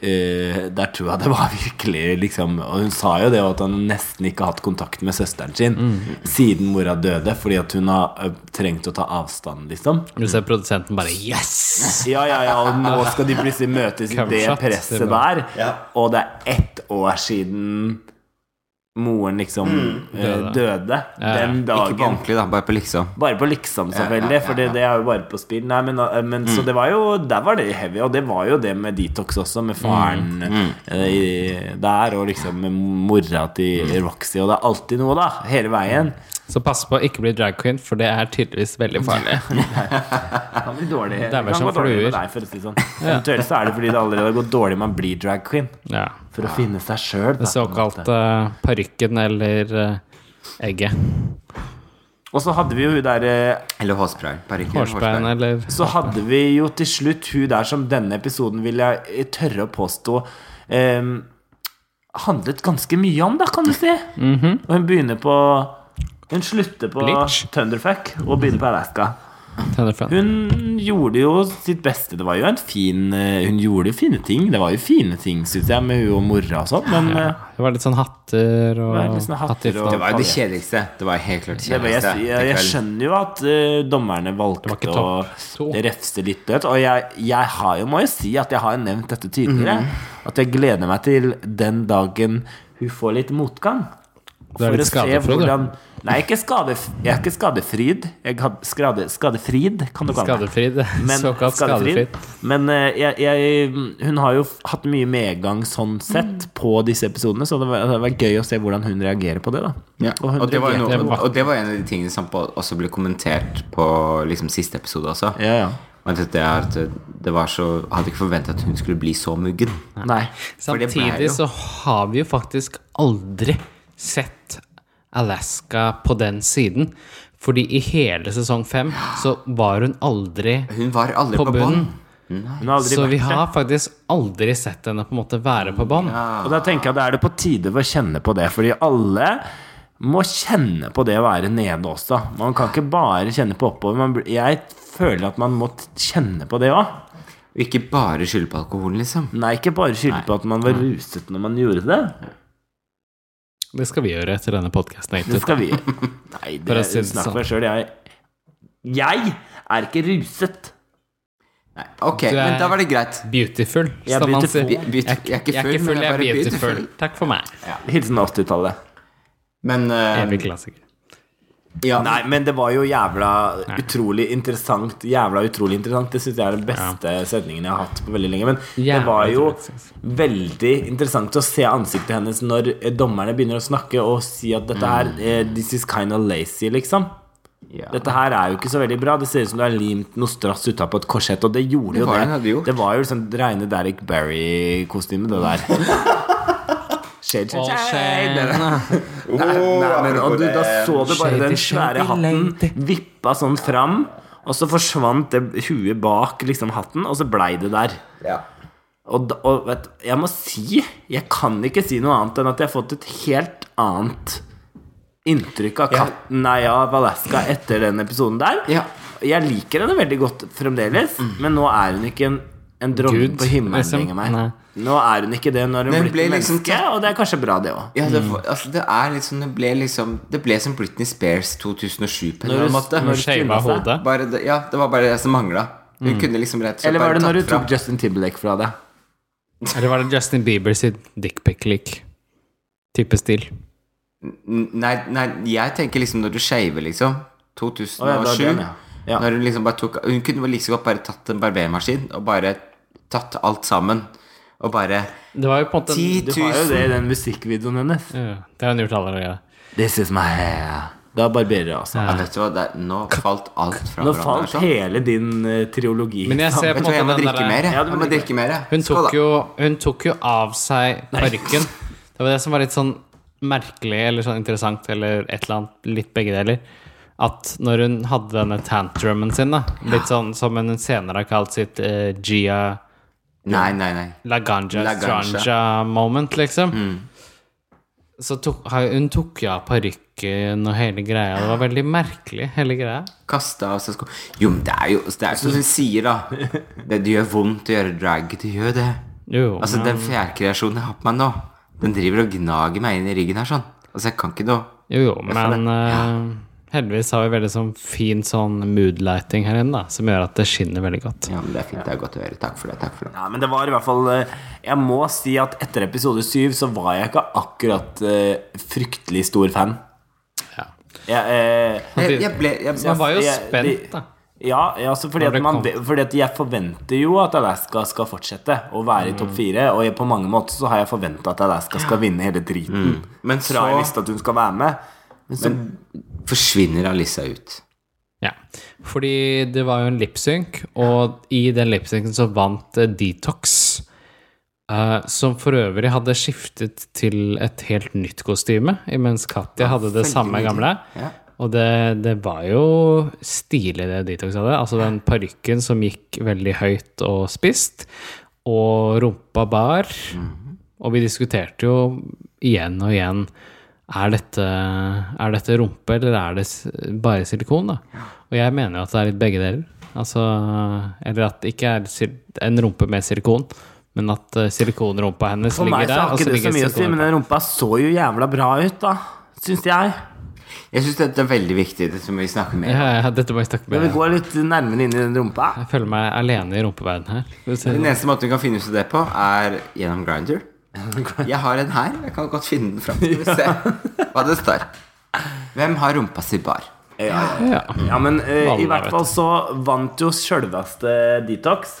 S1: eh, eh, Der tror jeg det var virkelig liksom Og hun sa jo det at han nesten ikke har hatt kontakt med søsteren sin siden mora døde, fordi at hun har eh, trengt å ta avstand, liksom.
S3: Du ser produsenten bare Yes!
S1: Ja, ja, ja, og nå skal de plutselig møtes i det
S3: Cumshot,
S1: presset
S3: det var-
S1: der.
S4: Ja.
S1: Og det er ett år siden moren liksom eh,
S3: Døde.
S1: døde. Den
S2: Ikke på
S1: dagen.
S2: ordentlig, da, bare på liksom.
S1: Bare på liksom, selvfølgelig, for det, det er jo bare på spill. Nei, men, eh, men Så det var jo Der var det heavy, og det var jo det med Detox også, med faren eh, i- der, og liksom med mora til Roxy, og det er alltid noe, da. Hele veien.
S3: Så pass på å ikke bli drag queen, for det er tydeligvis veldig farlig.
S1: Det kan bli dårlig. Det
S3: vel
S1: kan
S3: som
S1: gå dårlig
S3: fluer.
S1: med deg, for å si det sånn. Eventuelt så er det fordi det allerede har gått dårlig man blir drag queen.
S3: Ja.
S1: For å finne seg sjøl.
S3: Den såkalte parykken eller eh, egget.
S1: Og så hadde vi jo hun der eh,
S2: Eller hårspray. Parykker.
S3: Hårsbein eller
S1: Så hadde vi jo til slutt hun der som denne episoden vil jeg eh, tørre å påstå eh, handlet ganske mye om, da, kan du si. Og hun begynner på Hun slutter på
S3: Bleach.
S1: Thunderfuck og begynner på Alaska.
S3: tennerfrann.
S1: Hun gjorde jo sitt beste. Det var jo en fin eh, Hun gjorde fine ting. Det var jo fine ting, syns jeg, med hun og mora og sånn, men eh,
S3: Det var litt sånn hatter og
S1: Det var litt sånn hatter
S3: hattegift.
S1: og-
S2: Det var jo det kjedeligste. Det var helt klart det
S1: Det var, jeg, jeg,
S2: kjedeligste.
S1: jeg
S2: den kvelden.
S1: skjønner jo at eh, dommerne
S3: var
S1: valgte
S3: ikke
S1: å
S3: topp to.
S1: refse litt dødt. Og jeg, jeg har jo, må jo si at jeg har jo nevnt dette tidligere.
S2: Mhm.
S1: At jeg gleder meg til den dagen hun får litt motgang.
S3: Du er litt skadefryd, du.
S1: Nei, ikke skadef, jeg er ikke skadefryd. Jeg had, skade, skadefrid, kan du kalle det.
S3: Skadefrid.
S1: Men,
S3: Såkalt skadefrid.
S1: Men eh, jeg, jeg, hun har jo f- hatt mye medgang sånn sett på disse episodene, så det var, det var gøy å se hvordan hun reagerer på det. da
S2: Ja.
S1: hun
S2: Og, det var jo
S1: reagerte-
S2: noe, og det var en av de tingene som på, også ble kommentert på liksom, siste episode også.
S1: ja, ja.
S2: Men det, er at det var så jeg Hadde ikke forventa at hun skulle bli så muggen.
S1: Nei.
S2: For det ble
S3: Samtidig
S2: jo-
S3: så har vi jo faktisk aldri sett Alaska på den siden. Fordi i hele sesong fem så var hun aldri
S2: Hun var aldri
S3: På
S2: på, bånn.
S3: bunnen.
S1: Hun har aldri
S3: Så
S1: vært
S3: vi
S1: det.
S3: har faktisk aldri sett henne på en måte være på bånd.
S1: Og da tenker jeg at da er det på tide å kjenne på det, fordi alle må kjenne på det å være nede også. Man kan ikke bare kjenne på oppover. Man, blir- jeg føler at man må t- kjenne på det òg.
S2: Og ikke bare skylde på alkoholen, liksom.
S1: Nei, ikke bare skylde på at man var ruset når man gjorde det.
S3: Det skal vi gjøre etter denne podkasten.
S1: Det skal vi Nei,
S3: For å
S1: det
S3: si det
S1: snakk
S3: sånn.
S1: for deg sjøl. Jeg, jeg er ikke ruset.
S2: Nei, ok,
S3: Du er-
S2: men da var det greit.
S3: Beautiful,
S1: Jeg er
S3: som man
S1: beautiful.
S3: sier.
S2: Be- be-
S3: Jeg,
S2: jeg er ikke
S3: jeg er
S2: full,
S3: ikke
S2: men
S3: full, jeg er beautiful.
S2: beautiful.
S3: Takk for meg.
S1: Hilsen 80-tallet.
S2: Men eh,
S3: Evig klassiker.
S2: ja,
S1: Nei, men det var jo jævla utrolig interessant. Jævla utrolig interessant. Det syns jeg er den beste sendingen jeg har hatt på veldig lenge. Men det
S3: Jævla
S1: var jo
S3: utrolig, synes
S1: veldig interessant å se ansiktet hennes når eh, dommerne begynner å snakke og si at dette her
S3: Mm.
S1: eh, This is kind of lazy, liksom.
S2: ja.
S1: Dette her er jo ikke så veldig bra. Det ser ut som du har limt noe strass utapå et korsett, og det gjorde
S2: Det
S1: jo
S2: var hun hadde
S1: det.
S2: gjort.
S1: Det var jo liksom det rene Derek Barry-kostymet, det der. Shade, shade,
S3: All
S1: shade.
S3: shame.
S1: Nei, nei, men, og du, da så du bare den
S3: Shady,
S1: svære
S3: shady
S1: hatten
S3: lady.
S1: vippa sånn fram, og så forsvant det huet bak liksom hatten, og så blei det der.
S2: Ja.
S1: Og, da- og vet, du, jeg må si Jeg kan ikke si noe annet enn at jeg har fått et helt annet inntrykk av katten Nei, av Alaska etter den episoden der.
S2: Ja.
S1: Jeg liker henne veldig godt fremdeles, men nå er hun ikke en, en dronning
S3: Gud,
S1: på himmelen
S3: liksom.
S1: lenger. Meg.
S3: Nei.
S1: Nå er hun ikke det når hun
S2: Men
S1: blir
S2: ble
S1: et
S2: liksom
S1: menneske, og det er kanskje bra, det òg.
S2: Ja, det, var- altså, det er liksom Det ble liksom Det ble som Britney Spears 2007 på en eller annen måte.
S1: når du
S3: Shava
S1: seg.
S3: hodet.
S2: Bare det, ja, det var bare det som mangla. Hun kunne liksom rett og
S1: Mm.
S2: slett
S1: Eller var
S2: bare
S1: det når du
S2: tatt fra.
S1: tok Justin Timberlake fra deg?
S3: Eller var det Justin Bieber sitt dickpic-lik? Type stil.
S2: N- Nei, nei, jeg tenker liksom når du shaver, liksom. 2007.
S1: Å, ja, det var den, ja. Ja.
S2: Når hun liksom bare tok Hun kunne vel like så godt bare tatt en barbermaskin og bare tatt alt sammen. Og bare
S3: Det var jo på en måte
S2: Ti-
S1: Du har jo
S2: 1000.
S1: det i den musikkvideoen hennes.
S3: Ja, Det har hun gjort allerede.
S1: This is my hair. Da barberer jeg altså.
S2: ja, Vet du hva, det, er- nå falt alt fra
S1: Nå
S2: hverandre,
S1: falt
S2: altså.
S1: hele din eh, triologi.
S3: Men jeg ser på en
S2: Vet du
S3: måte
S2: hva, jeg må
S3: den
S2: drikke
S3: derre-
S2: mer, jeg.
S1: Ja, du må
S2: jeg må
S1: drikke
S2: drikke mer. jeg.
S3: Hun
S2: Skål, da.
S3: tok, jo, hun tok jo av seg parykken. Det var det som var litt sånn merkelig eller sånn interessant, eller et eller annet. Litt begge deler. At når hun hadde denne tantrumen sin, da, litt sånn som hun senere har kalt sitt eh, Gia
S2: Nei, nei, nei.
S3: Laganja
S2: Laganja.
S3: Stranja-moment, liksom,
S2: Mm.
S3: så tok, hun tok jo av parykken og hele greia. Det var veldig merkelig, hele greia.
S2: Kasta av seg sko Jo, men det er jo det er som hun sier, da. Det, det gjør vondt å gjøre drag. Det gjør det.
S3: Jo,
S2: Altså, den fjærkreasjonen jeg har på meg nå, den driver og gnager meg inn i ryggen her sånn. Altså, jeg kan ikke noe.
S3: Jo, jo, men eh, heldigvis har vi veldig sånn fin sånn moodlighting her inne, da, som gjør at det skinner veldig godt.
S2: Ja, men det er fint. Det er godt å høre. Takk for det. Takk for det.
S1: Ja, men det var i hvert fall eh, Jeg må si at etter episode 7 så var jeg ikke akkurat eh, fryktelig stor fan.
S3: Ja.
S1: Jeg, eh,
S2: Jeg, jeg ble, jeg,
S3: Man var jo
S1: jeg-
S3: spent, da.
S1: ja, ja altså fordi,
S3: Når
S1: at
S3: det
S1: man,
S3: kom.
S1: ve- fordi at jeg forventer jo at Alaska skal fortsette å være i topp
S3: Mm.
S1: fire. Og jeg, på mange måter så har jeg forventa at Alaska skal vinne hele driten.
S3: Mm.
S2: Men
S1: Fra jeg
S2: så,
S1: visste at hun skal være med.
S2: men så forsvinner Alissa ut.
S3: Ja. Fordi det var jo en lipsynk, og i den lipsynken så vant eh, Detox. eh, som for øvrig hadde skiftet til et helt nytt kostyme, imens Katja hadde det
S2: veldig
S3: samme
S2: nydelig.
S3: gamle.
S2: Ja.
S3: Og det, det var jo stilig, det Detox hadde. Altså den parykken som gikk veldig høyt og spist, og rumpa bar.
S1: Mhm.
S3: Og vi diskuterte jo igjen og igjen er dette, er dette rumpe, eller er det s- bare silikon, da? Og jeg mener jo at det er litt begge deler. Altså, eller at det ikke er sil- en rumpe med silikon, men at eh, silikonrumpa hennes
S1: For meg
S3: ligger
S1: så
S3: der.
S1: har
S3: og
S1: ikke det så
S3: ligger
S1: mye å si,
S3: silikonrumpa-
S1: men den rumpa så jo jævla bra ut, da. Syns jeg.
S2: Jeg syns dette er veldig viktig. Dette må vi snakke mer om.
S3: ja, ja, Dette må jeg snakke
S1: Men
S3: med
S1: vi går litt nærmere inn i den rumpa.
S3: Jeg føler meg alene i rumpeverdenen her. Skal vi se.
S2: Den eneste måten vi kan finne ut av det på, er gjennom Grinder. Jeg har en her. Jeg kan godt finne den fram. Skal vi se hva det står. Hvem har rumpa si bar?
S3: Ja.
S1: Ja, men eh,
S3: Vanlig,
S1: i hvert
S3: vet
S1: fall så vant jo sjølveste Detox.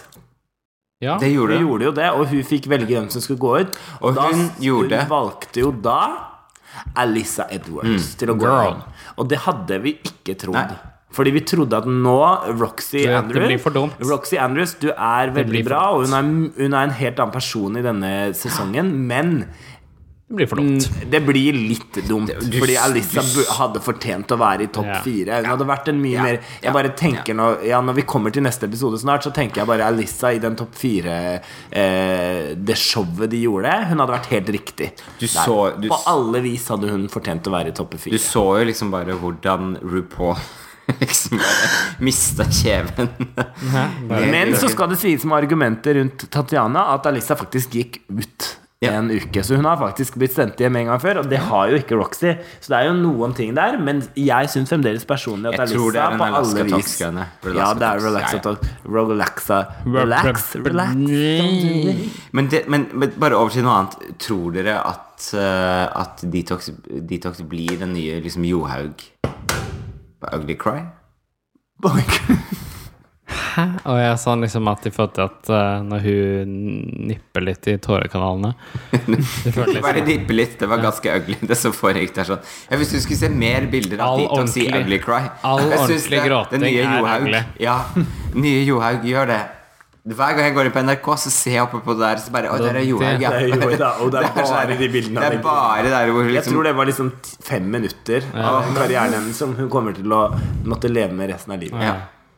S3: ja.
S2: Det gjorde
S1: Hun
S2: hun.
S1: gjorde jo det, og hun fikk velge hvem som skulle gå ut.
S2: Og hun gjorde-
S1: Hun valgte jo da Alissa Edwards til å gå
S3: Mm, Girl.
S1: inn. Og det hadde vi ikke trodd.
S2: Nei.
S1: Fordi vi trodde at nå, Roxy
S3: Det- det
S1: Andrews
S3: blir for dumt.
S1: Roxy Andrews, du er veldig
S3: blir for
S1: bra, og hun er, hun er en helt annen person i denne sesongen, men
S3: Det blir for dumt.
S1: Mm, det blir litt dumt,
S2: du-
S1: fordi Alissa
S2: du-
S1: bu- hadde fortjent å være i topp
S3: Ja.
S1: fire. Hun hadde vært en mye
S2: Ja.
S1: mer
S2: Ja.
S1: Jeg bare tenker når, ja, når vi kommer til neste episode snart, så tenker jeg bare Alissa i den topp fire eh, Det showet de gjorde, hun hadde vært helt riktig.
S2: Du
S1: Der.
S2: så- du
S1: På
S2: s-
S1: alle vis hadde hun fortjent å være i topp
S2: Du
S1: fire.
S2: så jo liksom bare hvordan RuPaul liksom bare mista kjeven.
S3: Bare-
S1: Men så skal det sies med argumentet rundt Tatiana at Alissa faktisk gikk ut.
S2: Ja.
S1: En uke, Så hun har faktisk blitt sendt hjem en gang før, og det har jo ikke Roxy. Så det er jo noen ting der, men jeg syns fremdeles personlig at
S2: Jeg tror det
S1: Alissa
S2: er den
S1: på
S2: Alaska
S1: alle vis
S2: Talks-greiene.
S1: Ja,
S2: Alaska
S1: det er
S2: Talks.
S1: relaxa
S2: Ja, ja.
S1: talk. Relaxa. Relax, relax.
S2: Men, det, men, men bare over til noe annet. Tror dere at, eh, at Detox, Detox blir den nye liksom Johaug på Ugly Cry?
S3: Hæ? Og jeg sa liksom at de følte at eh, når hun nipper litt i tårekanalene liksom- Det føltes
S2: Bare
S3: som
S2: nippe litt. Det var ganske ugly, det som foregikk der. sånn Jeg visste du skulle se mer bilder av
S3: All
S2: Detox i
S3: ordentlig-
S2: Ugly Cry.
S3: all
S2: Jeg synes
S3: ordentlig
S2: det-
S3: gråting
S2: den nye
S3: er
S2: Johaug-
S3: ugly.
S2: Ja. Nye Johaug gjør det. Hver gang jeg går inn på NRK, så ser jeg oppe på det der, så bare Å, der er Johaug, ja.
S1: Det er Johaug, da, og det er
S2: sånn-
S1: bare de bildene av henne.
S2: Det er bare der hvor hun
S1: Jeg
S2: liksom
S1: tror det var liksom t- fem minutter av karrieren hennes som hun kommer til å måtte leve med resten av livet.
S2: ja.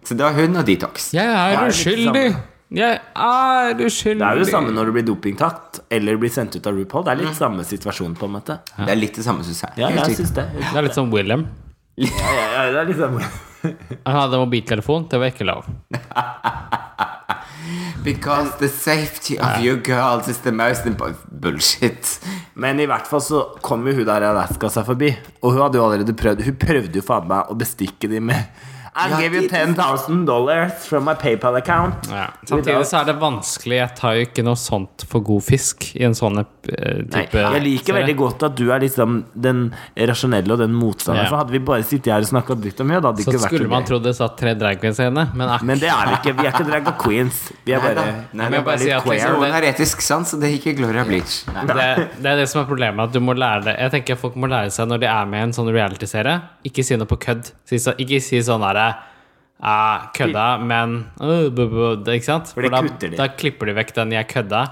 S2: Så det var hun og Detox.
S3: Jeg
S1: det
S3: er
S1: er litt
S3: uskyldig!
S1: samme.
S3: Jeg er uskyldig!
S1: Det er jo det samme når du blir dopingtatt eller blir sendt ut av RuPaul. Det er litt samme situasjon, på en måte.
S2: Det er litt det samme, syns jeg.
S1: Ja,
S2: Helt
S1: jeg
S2: riktig.
S1: syns det. Ja,
S3: Det er litt som William.
S1: ja, ja, det er litt samme.
S3: Han hadde mobiltelefon, det var ikke lov.
S2: Because the safety of you girls is the most important Bullshit.
S1: Men i hvert fall så kom jo hun der i Alaska seg forbi. Og hun hadde jo allerede prøvd Hun prøvde jo faen meg å bestikke dem med I
S2: Ja,
S1: gave you
S2: det-
S1: 10,000 dollars from my PayPal account.
S3: Ja. Samtidig så er det vanskelig. Jeg tar jo ikke noe sånt for god fisk i en sånn eh,
S1: Nei,
S3: type
S1: jeg liker veldig godt at du er liksom den rasjonelle og den motstanderen.
S3: Ja.
S1: For hadde vi bare sittet her og snakka dritt om henne, da hadde det
S3: Så
S1: ikke vært
S3: skulle
S1: noe
S3: man
S1: gøy.
S3: trodd det satt tre drag queens i henne, men akkurat
S1: Men det er vi ikke. Vi er ikke drag queens. Vi er
S2: Nei
S1: bare,
S2: da. Nei,
S1: vi
S2: men
S1: er
S3: bare
S1: bare
S3: si
S1: litt
S3: at liksom-
S1: queer.
S2: Noen har etisk sans, og det gikk i Gloria Bleach. Nei.
S3: Det, det er det som er problemet. At du må lære det Jeg tenker Folk må lære seg når de er med i en sånn reality-serie. Ikke si noe på kødd. Si så, ikke si sånn derre «Ah, Kødda, men øh, bu, bu, det- Ikke sant?
S1: det
S3: da,
S1: kutter de.
S3: da klipper de vekk den 'jeg kødda',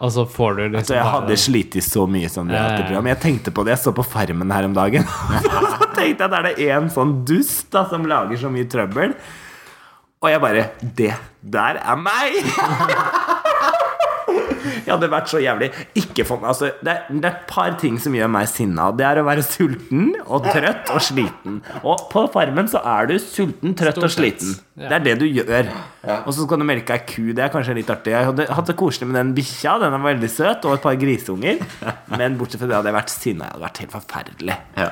S3: og så får du liksom
S1: Så Altså, jeg
S3: bare
S1: hadde
S3: den.
S1: slitt så mye som det
S3: Ja, ja, ja.
S1: program. Jeg tenkte på det, jeg så på Farmen her om dagen. så tenkte jeg at er det en sånn dust da, som lager så mye trøbbel. Og jeg bare Det der er meg! Jeg hadde vært så jævlig Ikke for meg altså, det, er, det er et par ting som gjør meg sinna. Det er å være sulten og trøtt og sliten. Og på Farmen så er du sulten, trøtt og
S3: Stort sett.
S1: sliten.
S3: Ja.
S1: Det er det du gjør. Og så skal du melke ei ku. Det er kanskje litt artig. Jeg hadde hatt det koselig med den bikkja. Den er veldig søt. Og et par grisunger. Men bortsett fra det hadde jeg vært sinna. Jeg hadde vært helt forferdelig.
S2: Ja.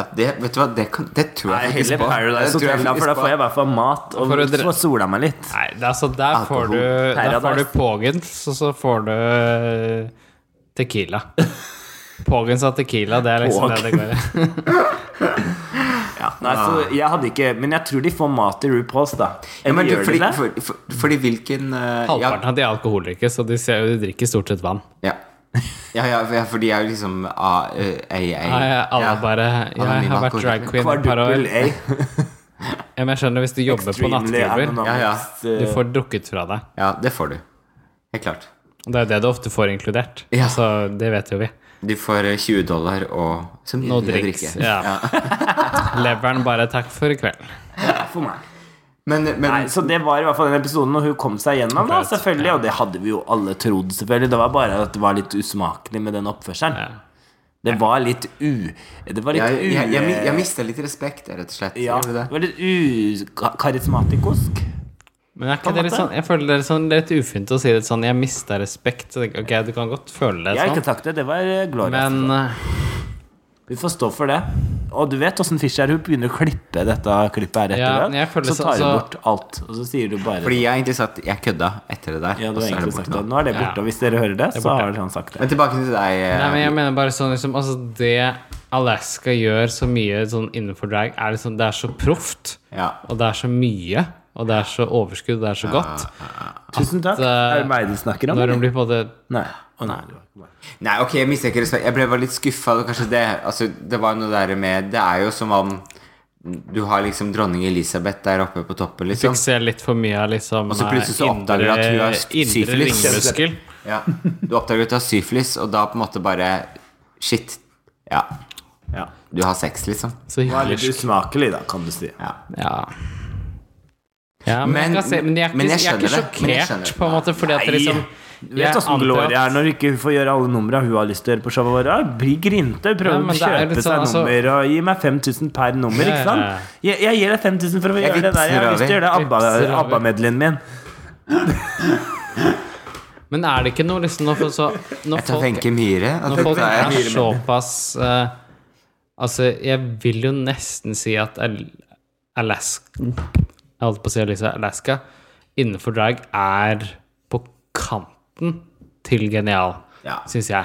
S2: Ja, det, vet du hva, det, kan, det tror
S1: Nei,
S2: jeg
S1: heller Paradise
S2: Det tror jeg
S1: Hotel, da, for da
S2: faktisk
S1: får jeg i hvert fall mat. Og
S3: For å dre-
S1: så sola meg litt.
S3: Nei, det, er altså, der får du, der får du
S1: Paradise.
S3: pågens, og så får du eh, tequila. Pågens og tequila, det er liksom det det går i.
S1: Nei, så jeg hadde ikke Men jeg tror de får mat i RuPaul's, da. Eller
S2: Ja, men du,
S1: gjør de
S2: fordi,
S1: det?
S2: for, for, fordi hvilken eh,
S3: Halvparten av de er alkoholikere, så de, ser, jo- de drikker stort sett vann.
S2: Ja, ja, ja, for- ja for de er jo liksom A, eh, AA.
S3: Nei, alle
S2: ja.
S3: bare Jeg har vært
S2: alkoholikere.
S3: drag queen et par år.
S1: Quadruple A.
S3: Ja, men jeg skjønner hvis du jobber på
S1: Extremely
S3: nattklubber.
S1: anonymous,
S2: Ja, ja.
S1: eh,
S3: Du får drukket fra deg.
S2: Ja, det får du. Helt klart.
S3: Og Det er jo det du ofte får inkludert.
S2: Ja.
S3: Så det vet jo vi.
S2: Du får eh, 20 dollar og som
S3: No
S2: jeg
S3: drinks.
S2: drikker.
S3: Ja. Leveren bare takk for i kveld.
S1: for meg.
S2: Men, men
S1: Nei, så det var i hvert fall den episoden, og hun kom seg gjennom, da,
S3: Akkurat,
S1: selvfølgelig. Og det hadde vi jo alle trodd, selvfølgelig. Det var bare at det var litt usmakelig med den oppførselen.
S3: Ja.
S1: Det var litt u... Det var litt
S2: jeg, jeg, jeg, mi-
S1: u...
S2: jeg mista litt respekt, rett og slett.
S1: Ja, det
S2: Gjorde det?
S1: var litt ukarismatikosk.
S3: Men er
S1: På
S3: ikke
S1: en
S3: det litt
S1: måte.
S3: sånn Jeg føler det er litt sånn, det er litt ufint å si det sånn Jeg mista respekt. Så det- Ok, du kan godt føle
S1: Jeg har
S3: det
S1: ikke
S3: sånn,
S1: sagt det. Det var eh, Gloria.
S3: men
S2: altså.
S3: eh,
S1: Vi får stå for det. Og du vet åssen Fischer er. Hun begynner å klippe dette klippet her
S3: Ja,
S1: etter
S3: men
S1: det.
S3: jeg føler
S1: Så
S3: så- altså-
S1: tar hun
S3: så-
S1: bort alt. Og så sier du bare
S2: Fordi jeg har egentlig sagt jeg kødda etter det der.
S1: Ja,
S2: og
S1: du har
S2: så er det
S1: egentlig
S2: borte
S1: sagt
S2: nå.
S1: det. Nå er det
S3: Ja.
S1: borte. Og hvis dere hører det, så
S3: borte.
S1: har han sagt det.
S2: Men tilbake til deg. eh,
S3: Nei, men jeg mener bare sånn liksom Altså, det Alaska gjør så mye sånn innenfor drag, er liksom Det er så proft,
S2: ja.
S3: og det er så mye, og det er så overskudd, og det er så godt.
S1: Tusen takk.
S3: eh,
S1: Er det meg du snakker om?
S3: Når hun
S1: eller?
S3: blir på en måte
S1: Nei. Å, nei. det var ikke meg.
S2: Nei, ok, jeg mister ikke respekt. Jeg ble bare litt skuffa. Det, var kanskje det. Altså, det var noe der med Det er jo som om du har liksom dronning Elisabeth der oppe på toppen, liksom.
S3: Fikk se litt for mye av liksom
S2: Og så plutselig så
S3: eh,
S2: oppdager du at hun har
S3: indre- Indre
S2: syfilis.
S3: ringmuskel.
S2: Ja. Du oppdager at du har syfilis, og da på en måte bare Shit. Ja,
S1: Ja.
S2: du har sex, liksom.
S3: Så
S1: Det var litt
S3: himmelsk.
S1: usmakelig, da, kan du si.
S2: Ja.
S3: Ja. Ja, men, jeg,
S2: Men-
S3: kan se, men, jeg, er ikke,
S2: men jeg
S3: jeg, er ikke
S2: skjønner det. Men jeg
S3: sjokkert,
S2: skjønner det.
S3: på en måte, fordi at det liksom
S1: Du vet åssen
S3: antar at-
S1: Gloria er når hun ikke får gjøre alle numra hun har lyst til å gjøre på showet vårt. Bli grinte, prøv
S3: Ja,
S1: å
S3: men det er
S1: kjøpe
S3: litt
S1: seg
S3: sånn, altså-
S1: nummer og gi meg 5000 per nummer,
S3: Ja, ja,
S1: ikke sant? Jeg, jeg gir deg 5000 for å
S2: Jeg
S1: gjøre det der. Jeg har
S2: vipser
S1: lyst til å gjøre det
S3: over. Vipser
S1: ABBA-
S3: over.
S1: ABBA-medleyen min.
S3: Men er det ikke noe liksom Når, så, når
S2: Jeg tar
S3: folk,
S2: Wenche Myhre. og
S3: når
S2: så
S3: folk
S2: tar
S3: er
S2: jeg-
S3: såpass eh, Altså, jeg vil jo nesten si at Al- Alaska Jeg holdt på å si Elisa, Alaska innenfor drag er på kanten til genial,
S2: Ja.
S3: syns jeg.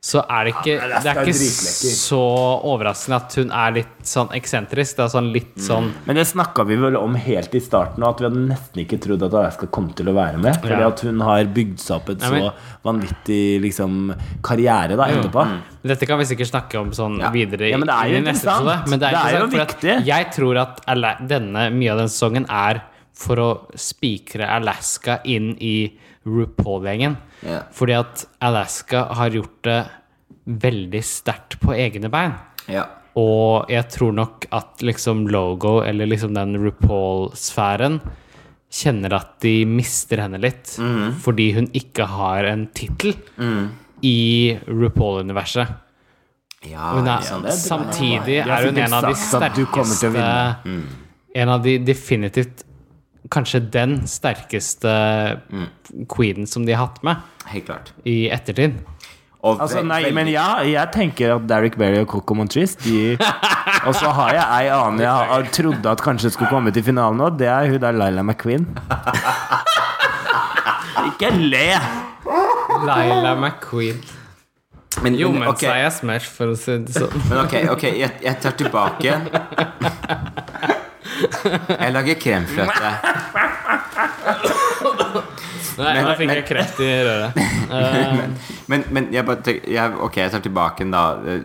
S3: Så er det ikke Det
S1: Alaska
S3: er ikke
S1: er dritlekker.
S3: så overraskende at hun er litt sånn eksentrisk. Det er sånn litt sånn
S1: Men det snakka vi vel om helt i starten, og at vi hadde nesten ikke trodd at Alaska kom til å være med. Fordi
S3: Ja.
S1: at hun har bygd seg opp et
S3: Nei, men-
S1: så vanvittig liksom, karriere da, etterpå.
S3: Dette kan vi sikkert snakke om sånn videre
S1: Ja, men det er
S3: i-
S1: jo
S3: i neste
S1: interessant.
S3: episode, Men det er,
S1: Det er jo
S3: interessant, for at
S1: viktig.
S3: Jeg tror at Ala- denne, mye av denne sesongen er for å spikre Alaska inn i RuPaul-gjengen.
S2: Ja.
S3: Fordi at Alaska har gjort det veldig sterkt på egne bein.
S2: Ja.
S3: Og jeg tror nok at liksom logo, eller liksom den RuPaul-sfæren, kjenner at de mister henne litt.
S1: Mhm.
S3: Fordi hun ikke har en tittel i RuPaul-universet.
S2: Ja,
S3: Hun
S2: ikke
S3: er,
S2: sant.
S3: samtidig
S1: Jeg har
S3: er hun en av de
S1: sikkert sagt at du kommer til å
S3: sterkeste En av de definitivt Kanskje den sterkeste queenen som de har hatt med
S2: Helt klart.
S3: i ettertid.
S2: Og
S1: Altså,
S2: ve-
S1: nei,
S2: veldig-
S1: men ja, jeg tenker at Derek Berry og Coco Montrese de, Og så har jeg ei annen jeg har- trodde at kanskje skulle komme til finalen nå. Det er hun der Laila McQueen. Ikke le!
S3: Laila McQueen.
S2: men,
S3: Jo, men
S2: ok,
S3: sa jeg Smash, for å si det sånn.
S2: men ok, ok, jeg, jeg tar tilbake. Jeg lager kremfløte.
S3: Nei, nå fikk jeg kreft i røret.
S2: Men, men jeg bare tenker jeg, Ok, jeg tar tilbake den da eh,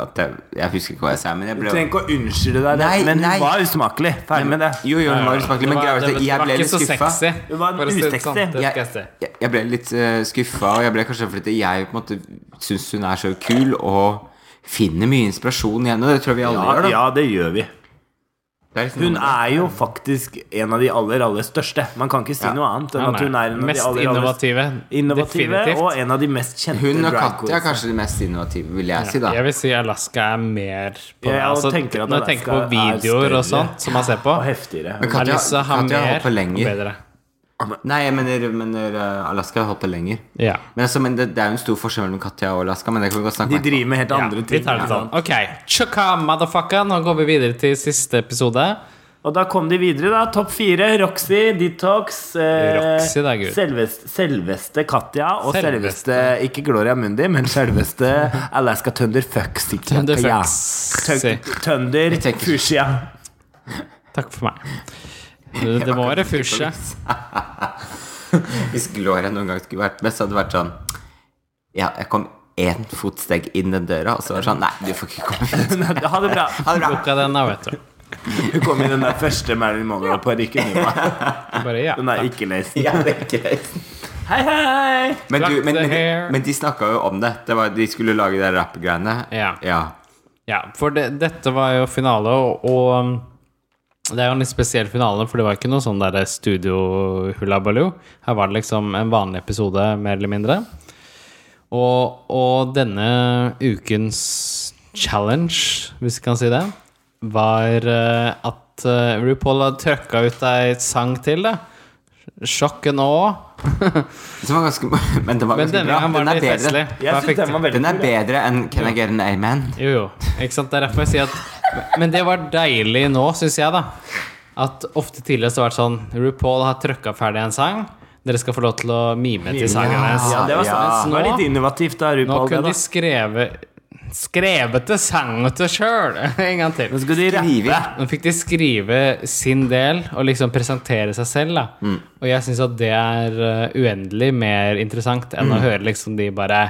S2: at jeg, jeg husker ikke hva jeg sa, men jeg
S1: Du
S2: ble
S1: trenger ikke å unnskylde deg,
S2: Nei,
S1: men
S2: nei.
S1: hun var usmakelig. Ferdig med det.
S2: Jo, jo, den var usmakelig, men
S3: Det var-
S2: greia var at
S3: det
S2: jeg
S3: var
S2: ble
S3: ikke
S2: litt
S3: så
S2: skuffa.
S3: sexy,
S1: Det var
S3: for å si det
S1: usexy.
S3: sånn. Det skal jeg si.
S2: Jeg, jeg- jeg ble litt uh, skuffa, og jeg ble kanskje fordi jeg på en måte syns hun er så kul og finner mye inspirasjon i henne. og Det tror jeg vi alle
S1: Ja,
S2: gjør, da.
S1: ja, det gjør vi.
S2: Det er liksom
S1: Hun
S2: noe med
S1: er jo faktisk en av de aller, aller største. Man kan ikke si noe annet enn
S3: Nei,
S1: at hun er
S3: nei.
S1: en av de
S3: Mest
S1: aller, aller
S3: innovative.
S1: innovative
S3: Definitivt.
S1: og en av de mest kjente
S2: det. Hun og
S1: drag
S2: Katja er
S1: queens.
S2: kanskje de mest innovative, vil jeg si, da.
S3: Jeg vil si Alaska er mer på
S1: Jeg
S3: altså,
S1: tenker at
S3: Når jeg tenker på
S1: Alaska er
S3: videoer og
S1: større.
S3: sånt som man ser på,
S1: Og heftigere.
S2: Men Katja,
S3: Alissa har
S2: Katja har
S3: mer
S2: holdt på
S3: og
S2: lenger.
S3: bedre.
S2: Ah, Nei, jeg mener, mener eh, Alaska har holdt på lenger.
S3: Ja.
S2: Men, altså, men det, det er jo en stor forskjell mellom Katja og Alaska, men det kan vi godt snakke
S1: De
S2: om.
S1: driver med helt
S3: Ja,
S1: andre
S3: vi
S1: ting.
S3: tar det sånn. Ok, tjukka motherfucker. Nå går vi videre til siste episode.
S1: Og da kom de videre, da. Topp fire. Roxy, Detox, eh,
S3: Roxy, det er gud.
S1: selveste, selveste Katja og
S3: Selveste.
S1: selveste. Ikke Gloria Mundi, men selveste Alaska Thunder Fucks. ikke
S3: Thunder
S1: Katja.
S3: fucks.
S1: Tø- Thunder
S2: tenker-
S1: Fushia.
S3: Takk for meg. Det, det må være fusje.
S2: Hvis Gloria noen gang skulle vært med, så hadde det vært sånn Ja, jeg kom én fotsteg inn den døra, og så var det sånn Nei, du får ikke komme inn.
S1: ha det bra.
S2: Ha det bra.
S3: Lukka den da, vet du.
S1: Du kom i den der første Marilyn Monroe-parykken. Nima.
S3: Bare ja.
S1: Den er ikke lest.
S2: Ja, det er greit.
S1: Hei, hei!
S2: Men, du, men,
S3: Cut the hair.
S2: men, men de snakka jo om det. det var, de skulle lage de rappgreiene.
S3: Ja.
S2: ja.
S3: ja for det, dette var jo finale, og, og um, det er jo en litt spesiell finale, for det var ikke noe sånn der studio-hullabaloo. Her var det liksom en vanlig episode, mer eller mindre. Og, og denne ukens challenge, hvis vi kan si det, var eh, at eh, RuPaul hadde trøkka ut ei sang til, da. Sjokket nå.
S2: Det var ganske, men det var
S3: Men
S2: ganske
S3: denne
S2: bra.
S3: gangen var
S2: Den
S3: det
S2: er
S3: litt
S2: bedre.
S3: festlig.
S1: Jeg
S3: for
S1: synes
S3: fikk-
S1: den var veldig
S2: Den er
S1: kul, da.
S2: bedre enn Can I get an amen?
S3: Jo, jo. Ikke sant? Det er derfor jeg sier at Men det var deilig nå, syns jeg, da. At ofte tidligere så har det vært sånn RuPaul har trøkka ferdig en sang. Dere skal få lov til å mime til sangen hennes.
S1: Ja, det var,
S2: Ja.
S1: sånn. det var litt innovativt da,
S3: Nå
S1: RuPaul. det,
S3: kunne
S1: da.
S3: de skreve Skrevete sangete sjøl! En gang til.
S1: Nå skal de
S2: Skriving.
S1: rappe.
S3: Nå fikk de skrive sin del og liksom presentere seg selv. da
S1: Mm.
S3: Og jeg syns at det er uh, uendelig mer interessant enn å
S1: Mm.
S3: høre liksom de bare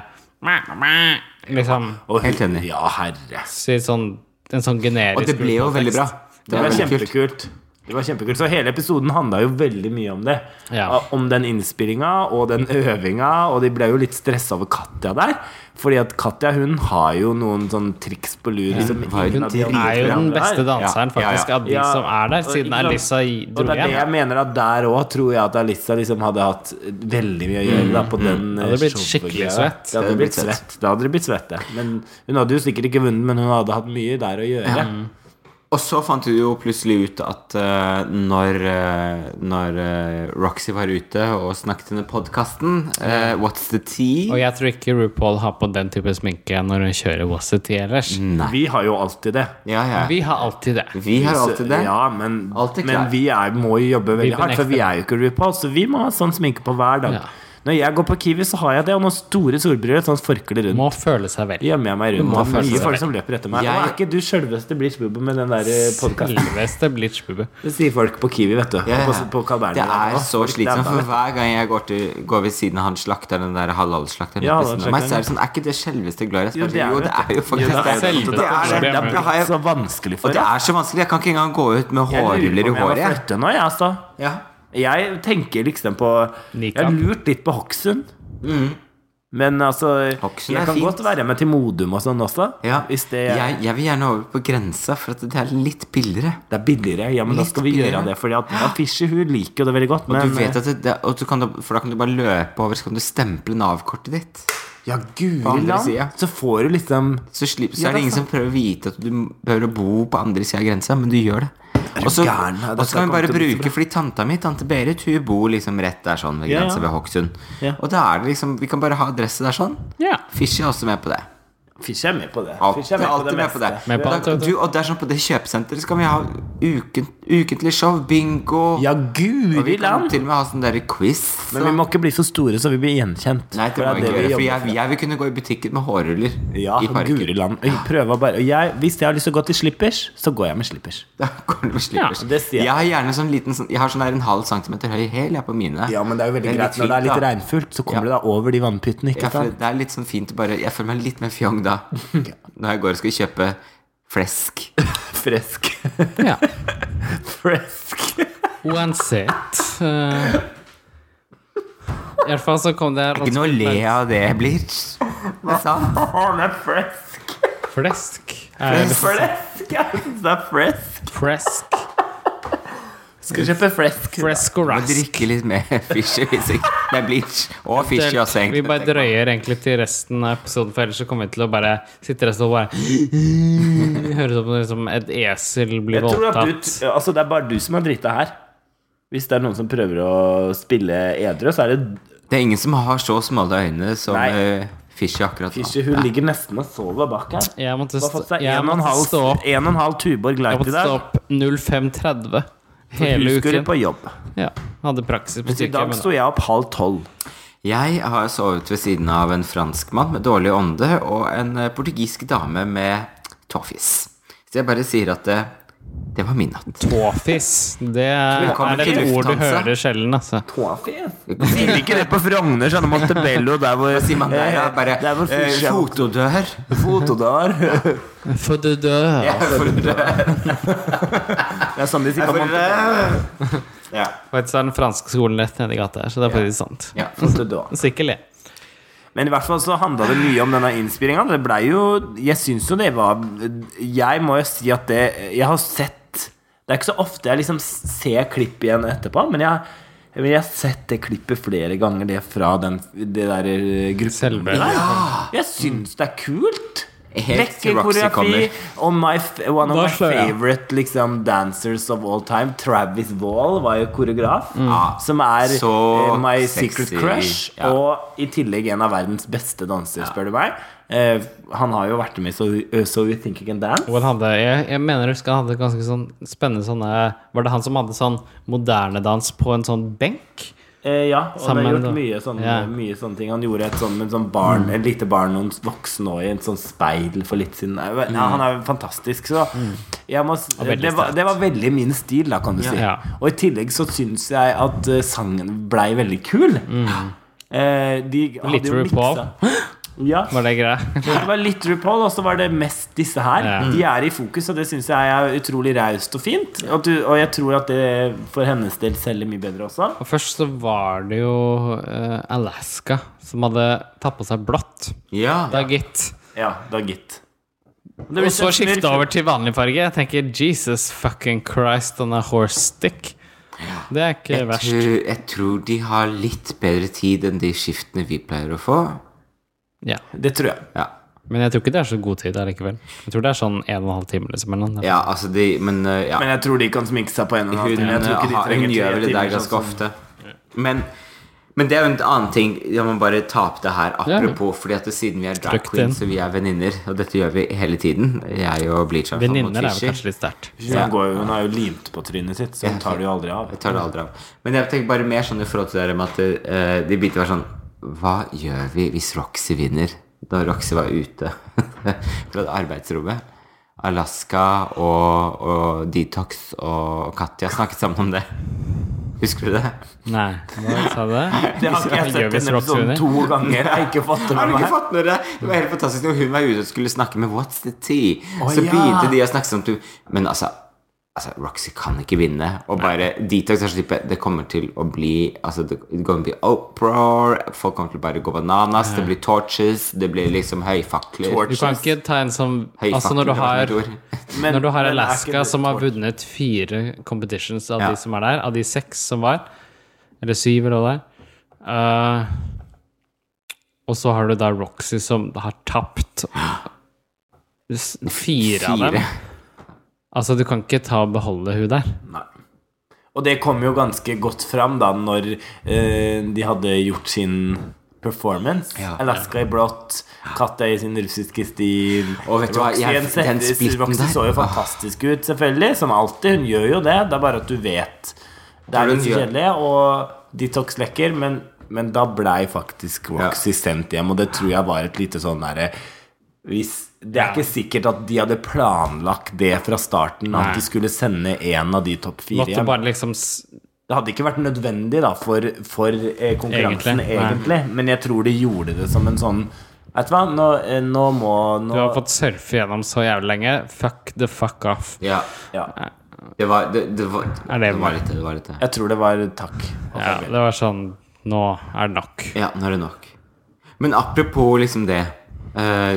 S3: Liksom
S1: Og-
S2: Helt enig.
S1: Ja, herre.
S3: si sånn, en sånn generisk
S2: Og det ble jo
S3: RuPaul-tekst.
S2: veldig bra.
S1: Det var
S2: veldig kult.
S1: kjempekult. Det var kjempekult, Så hele episoden handla jo veldig mye om det.
S3: Ja.
S1: Om den innspillinga og den øvinga, og de ble jo litt stressa over Katja der. Fordi at Katja hun har jo noen sånne triks på lur. Liksom,
S2: var jo
S1: ingen av de
S2: dritbra.
S1: andre
S3: er jo den
S1: programmene
S3: beste
S1: der.
S3: danseren
S2: Ja, ja, ja.
S3: faktisk av de
S1: Ja,
S3: som er der,
S1: og
S3: siden
S1: ikke sant?
S3: Alissa
S1: Og
S3: dro
S1: det er det jeg
S3: hjem.
S1: mener at der òg tror jeg at Alissa liksom hadde hatt veldig mye å gjøre da, på den eh,
S3: Mm. hadde blitt
S1: showgreia.
S3: skikkelig svett.
S1: Det hadde blitt svett. Det hadde blitt svett, det. Men hun hadde jo sikkert ikke vunnet, men hun hadde hatt mye der å gjøre.
S2: Og så fant vi jo plutselig ut at eh, når, eh, når eh, Roxy var ute og snakket under podkasten What's the tea?
S3: Og jeg tror ikke RuPaul har på den type sminke når hun kjører What's It ellers.
S1: Vi har jo alltid det.
S2: Ja, Mm. ja.
S3: Vi har alltid det.
S2: Vi har alltid det.
S1: Ja, men,
S2: Alltid klar.
S1: men vi er, må jo jobbe veldig hardt, for
S3: benekter
S1: vi er jo ikke RuPaul, så vi må ha sånn sminke på hver dag.
S3: Ja.
S1: Når jeg går på Kiwi, så har jeg det, og noen store solbriller, sånn forkle rundt.
S3: Må føle seg vel.
S1: Gjemmer jeg meg rundt.
S3: må
S1: Det er
S3: føle
S1: mye
S3: seg
S1: folk
S3: vel.
S1: som løper etter meg.
S2: Jeg-
S1: Og er ikke du sjølveste Bleach Bubba med den der podkasten?
S3: Selveste Blitz-bubbe.
S1: Det sier folk på Kiwi, vet du.
S2: Ja, ja.
S1: På, på Kalbernet
S2: Det er
S1: der.
S2: så slitsomt,
S1: Det er bra.
S2: for hver gang jeg går, til, går ved siden av han slakteren, den der halalslakteren,
S1: Ja,
S2: ved siden av meg,
S1: halalslakteren,
S2: så er det sånn Er ikke det selveste Gloria?
S1: Jo, det er
S2: Jo,
S1: det.
S2: det er jo faktisk
S1: Jo, det er
S2: det.
S3: det.
S2: Det er det.
S1: Det er
S2: Da har
S1: blitt
S2: jeg-
S1: så vanskelig
S2: Og
S1: for
S2: det
S1: deg.
S2: er så vanskelig. Jeg kan ikke engang gå ut med hårruller i håret. jeg.
S1: flytte nå, jeg, altså.
S2: Ja.
S1: Jeg tenker liksom på Jeg
S3: Nikab.
S1: har lurt litt på Hokksund. Men altså
S2: Mm. Hokksund er
S1: Jeg kan
S2: fint.
S1: godt være med til Modum og sånn også.
S2: Ja.
S1: Hvis det,
S2: Jeg, jeg vil gjerne over på grensa, for at det er litt billigere.
S1: det er billigere. Ja, men da
S2: Litt
S1: skal vi
S2: billigere.
S1: gjøre det. Fordi at Afisje hun liker jo det veldig godt. Men
S2: Du vet at det, det, og du kan, da- for da kan du bare løpe over, så kan du stemple Nav-kortet ditt.
S1: ja,
S2: På
S1: guri
S2: andre
S1: land,
S2: siden.
S1: så får du liksom
S2: Så, slipp, så
S1: Ja,
S2: er det
S1: det er
S2: ingen som prøver å vite at du behøver å bo på andre sida av grensa, men du gjør det. Og så
S1: gæren?
S2: og så kan
S1: Dette
S2: vi bare
S1: kommer til å bli så
S2: bruke Fordi tanta mi, tante Berit, hun bor liksom rett der sånn ved
S1: Ja, ja.
S2: grensa ved Hokksund.
S1: Ja.
S2: Og da er det liksom Vi kan bare ha adresse der sånn.
S3: Ja.
S2: Fishy er også med på det.
S1: Fisje er med på det.
S2: Alt,
S1: Fisje er med på
S2: alltid
S1: det
S2: med på
S1: meste.
S2: det.
S3: Med på
S2: Da-
S3: alt, vet du.
S2: du, og det er sånn på det kjøpesenteret så kan vi ha uken, ukentlig show, bingo
S1: Ja,
S2: Og vi
S1: guri
S2: kan
S1: land!
S2: til og med ha sånn derre quiz.
S1: Men vi må ikke bli så store så vi blir gjenkjent.
S2: Nei, det
S1: er
S2: må vi ikke
S1: vi
S2: gjøre, for
S1: jobber
S2: jeg, jeg vil kunne gå i butikken med hårruller
S1: Ja,
S2: i parken.
S1: guri land. Jeg prøver å bare og jeg, Hvis jeg har lyst til å gå til slippers, så går jeg med slippers.
S2: Da går det med slippers.
S1: Ja, det sier jeg.
S2: jeg har gjerne sånn liten sånn- Jeg har sånn der en halv centimeter høy hæl jeg, på mine.
S1: Ja, men det er jo veldig
S2: litt
S1: greit Når det er
S2: fint,
S1: litt
S2: da.
S1: regnfullt, så kommer
S2: Ja.
S1: du deg over de vannpyttene.
S2: Ja,
S1: ikke
S2: for
S1: sant?
S2: det er litt sånn fint å bare Jeg føler meg litt mer fjong da. Når jeg går og skal kjøpe flesk.
S1: Fresk.
S3: Ja.
S1: Fresk.
S3: Uansett eh, I hvert fall så kom det
S2: Ikke noe å le av det, Blitz. Det er sant.
S1: Han er fresk.
S3: Flesk. Er det
S1: Fresk. Jeg synes det er fresk.
S3: fresk?
S1: Skal kjøpe fresk.
S3: Fresco
S2: Må
S3: Rask.
S2: drikke litt mer fishy hvis ikke Nei, bleach. Og fishy også,
S3: Vi
S2: egentlig.
S3: bare drøyer egentlig til resten av episoden, for ellers så kommer vi til å bare sitte resten og bare Høres ut som liksom et esel blir
S1: Jeg tror at du,
S3: voldtatt.
S1: altså det er bare du som har drita her. Hvis det er noen som prøver å spille edru, så er det
S2: Det er ingen som har så smale øyne som
S1: Nei.
S2: eh, fishy akkurat nå.
S1: Fishy. Hun ligger nesten og sover bak her. Hun
S3: Jeg måtte,
S1: har
S3: stå,
S1: fått seg
S3: jeg
S1: en og en
S3: måtte
S1: halv-
S3: stå opp
S1: en og en halv Tuborg
S3: Jeg
S1: Light i
S3: måtte stå
S1: dag.
S3: opp 05.30 hele
S1: Hun skulle
S3: uken.
S1: på jobb.
S3: Ja, hadde praksis på
S1: Mens i dag
S3: sykehjemmet.
S1: sto jeg opp halv tolv.
S2: Jeg har sovet ved siden av en franskmann med dårlig ånde og en eh, portugisisk dame med tåfis. Så jeg bare sier at det, det var min natt.
S3: Tåfis. Det er,
S2: Velkommen
S3: er et
S2: til
S3: ord du
S2: Lufthansa.
S3: hører sjelden, altså.
S1: Sier de ikke det på Frogner, sånn Montebello, der hvor
S2: Sier man der, ja, bare
S1: der hvor
S2: eh,
S1: Fishy-
S2: fotodør.
S1: Fotodør.
S3: For du dør.
S1: Det er sånn de sier på Montebello.
S2: Fotodør. Ja.
S3: Faktisk er den franske skolen rett nedi gata her, så det er faktisk sant.
S2: ja.
S1: Fotodør.
S3: Så ikke le.
S1: Men i hvert fall så handla det mye om denne innspillinga. Det blei jo Jeg syns jo det var Jeg må jo si at det Jeg har sett Det er ikke så ofte jeg liksom ser klipp igjen etterpå, men jeg, men jeg har sett det klippet flere ganger, det fra den det der eh, gruppen.
S3: Selve.
S1: der. Jeg syns det er kult.
S2: Helt til
S1: Vekker
S2: Roxy
S1: koreografi.
S2: kommer.
S1: Og my, f- one of
S3: Da
S1: my
S3: slår jeg.
S1: favorite liksom, dancers of all time, Travis Wall, var jo koreograf. Som er
S2: Mm. Så
S1: eh, my
S2: sexy.
S1: secret crush.
S2: Ja.
S1: Og i tillegg en av verdens beste dansere, spør du meg. Eh, han har jo vært med i So, eh, so You Think You Can Dance.
S3: Og han hadde, jeg, jeg mener jeg husker han hadde ganske sånn spennende sånne Var det han som hadde sånn moderne dans på en sånn benk?
S1: Eh, ja, og han
S3: Sammen,
S1: har
S3: da.
S1: gjort mye sånne,
S3: Ja. Mm.
S1: mye sånne ting. Han gjorde et sånn, en sånn barn, et lite barn og en voksen også i en sånn speil for litt siden. Nei, vel, Ja, han er fantastisk, så jeg må, s-
S3: Mm. veldig
S1: det, var,
S3: sterkt.
S1: det var veldig min stil, da, kan du si.
S3: Ja.
S1: Og i tillegg så syns jeg at eh, sangen blei veldig kul. Eh, de hadde
S3: Mm. Litt
S1: jo
S3: RuPaul.
S1: miksa- Ja.
S3: Var det greia?
S1: Det var litt RuPaul, og så var det mest disse her.
S3: Ja.
S1: De er i fokus, og det syns jeg er utrolig raust og fint. Og, du, og jeg tror at det for hennes del selger mye bedre også.
S3: Og først så var det jo eh, Alaska som hadde tatt på seg blått.
S2: ja.
S3: Da, gitt.
S1: Ja, da gitt.
S3: Og så skifte over til vanlig farge. Jeg tenker Jesus fucking Christ on a horse stick. Det er ikke
S2: Jeg
S3: verst.
S2: tror, jeg tror de har litt bedre tid enn de skiftene vi pleier å få.
S3: Ja.
S1: Det tror jeg.
S2: Ja,
S3: Men jeg tror ikke det er så god tid allikevel. Jeg tror det er sånn en og en halv time. Liksom, eller noe.
S2: ja altså de Men eh, ja.
S1: Men jeg tror de kan sminke seg på en og en halv
S2: Hun,
S1: time. Jeg tror ikke de
S2: har- hun
S1: trenger
S2: gjør
S1: tre
S2: vel det der
S1: timer,
S2: ganske
S1: sånn som-
S2: ofte. Men, men det er jo en annen ting Jeg må bare ta opp det her
S3: Ja.
S2: apropos, fordi at siden vi er drag
S3: Trykk den.
S2: queens og vi er venninner, og dette gjør vi hele tiden Jeg og Bleach har fått mot
S3: Venninner er vel
S2: Fisher.
S3: kanskje litt sterkt.
S1: Hun, går, jo- hun har jo limt på trynet sitt, så hun tar det jo aldri av.
S2: Jeg tar det aldri av. Men jeg tenker bare mer sånn i forhold til det der med at eh, de begynte å være sånn Hva gjør vi hvis Roxy vinner? Da Roxy var ute fra det arbeidsrommet. Alaska og, og Detox og Katja snakket sammen om det. Husker du det?
S3: Nei, hva sa du?
S1: Det har ikke jeg
S3: Gjør
S1: sett
S3: vi
S1: denne
S3: straks
S1: episoden
S3: under?
S1: to ganger. Jeg har ikke fått det
S2: Har
S1: med
S2: du
S1: meg.
S2: ikke fått med deg? Det var helt fantastisk når hun var ute og skulle snakke med What's the tea?
S1: Å,
S2: så
S1: ja.
S2: begynte de å snakke sånn til- Men altså, altså Roxy kan ikke vinne. Og bare Detox er så type Det kommer til å bli altså, Det kommer til å bli uproar. Folk kommer til å bare gå bananas. Det blir torches. Det blir liksom høyfakler.
S1: Torch.
S3: Du kan ikke ta en som Altså, når du
S2: det
S3: har
S2: var mitt ord.
S1: Men-
S3: Når du har
S1: men er ikke
S3: Alaska
S1: det-
S3: som har vunnet fire competitions av
S2: Ja.
S3: de som er der, av de seks som var, eller syv eller hva det er Eh, Og så har du da Roxy som har tapt s- fire av dem.
S2: Fire.
S3: Altså, du kan ikke ta og beholde hun der.
S1: Nei. Og det kom jo ganske godt fram da når eh, de hadde gjort sin performance.
S2: Ja.
S1: Alaska i blått, Katja i sin russiske stil.
S2: Og vet du hva,
S1: Roxy
S2: jeg-
S1: i en
S2: den
S1: settes-
S2: splitten
S1: Roxy
S2: der,
S1: så jo
S2: ah.
S1: fantastisk ut, selvfølgelig. Som alltid. Hun gjør jo det. Det er bare at du vet det
S2: Tror
S1: er
S2: du
S1: litt
S2: hun gjør-
S1: kjedelig, og detox lekker, men, men da blei faktisk Roxy sendt hjem, og det tror jeg var et lite sånn derre hvis, det er ikke sikkert at de hadde planlagt det fra starten. At
S3: Nei.
S1: de skulle sende en av de topp fire
S3: Måtte
S1: hjem.
S3: bare liksom s-
S1: Det hadde ikke vært nødvendig da for, for eh, konkurransen,
S3: Egentlig,
S1: egentlig.
S3: nei.
S1: Men jeg tror de gjorde det som en sånn Vet du hva, nå, eh, nå må nå,
S3: Du har fått surfe gjennom så jævlig lenge. Fuck the fuck off.
S2: Ja.
S1: ja,
S2: Det var, det, det, var,
S3: Er
S2: det
S3: det-
S2: var litt det. det var litt det.
S1: Jeg tror det var takk. og
S3: Ja,
S1: farvel.
S3: det var sånn Nå er det nok.
S2: Ja, nå er det nok. Men apropos liksom det eh,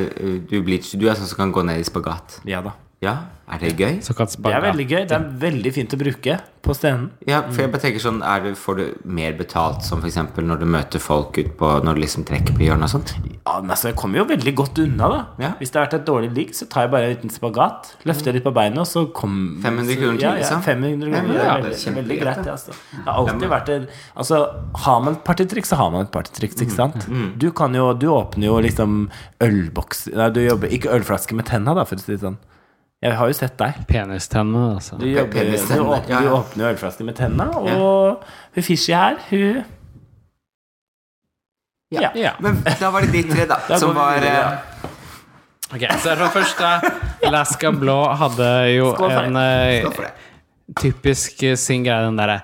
S2: Du Bleach, du er sånn som kan gå ned i spagat.
S1: Ja da.
S2: Ja, er det gøy?
S3: Såkalt
S1: Det
S3: spagat.
S1: er veldig gøy. Det er veldig fint å bruke på scenen.
S2: Ja, for jeg bare tenker sånn er det, Får du mer betalt som f.eks. når du møter folk ut på Når du liksom trekker på hjørnet og sånt?
S1: Ja, men altså, Jeg kommer jo veldig godt unna, da.
S2: Ja.
S1: Hvis det har vært et dårlig ligg, så tar jeg bare en liten spagat, løfter litt på beina, og så kom
S2: 500 kroner til,
S1: ja, ja,
S2: liksom?
S1: 500
S2: Ja,
S1: kroner,
S2: men ja,
S1: det er
S2: det er
S1: veldig, veldig
S2: kjempegreit,
S1: greit, det. Altså. Det har alltid vært en Altså, har man et partytriks, så har man et partytriks,
S2: Mm,
S1: ikke sant? Du kan jo Du åpner jo liksom ølboks Nei, du jobber ikke ølflaske med tenna, da, for å si det sånn. Jeg har jo sett deg.
S3: Penistennene, altså.
S1: Du, jobber, du,
S2: penisen,
S1: åpner,
S2: ja,
S1: du
S2: ja.
S1: åpner jo ølflaske med tenna, og hun Fishy her, hun Ja.
S3: Ja.
S2: Men da var det de tre, da. som
S1: går vi
S2: var
S1: videre,
S2: eh,
S1: ja.
S3: Ok, så for det første Alaska Blå hadde jo
S1: Skål for det.
S3: en eh,
S2: Skål for det.
S3: typisk eh, sin greie, den derre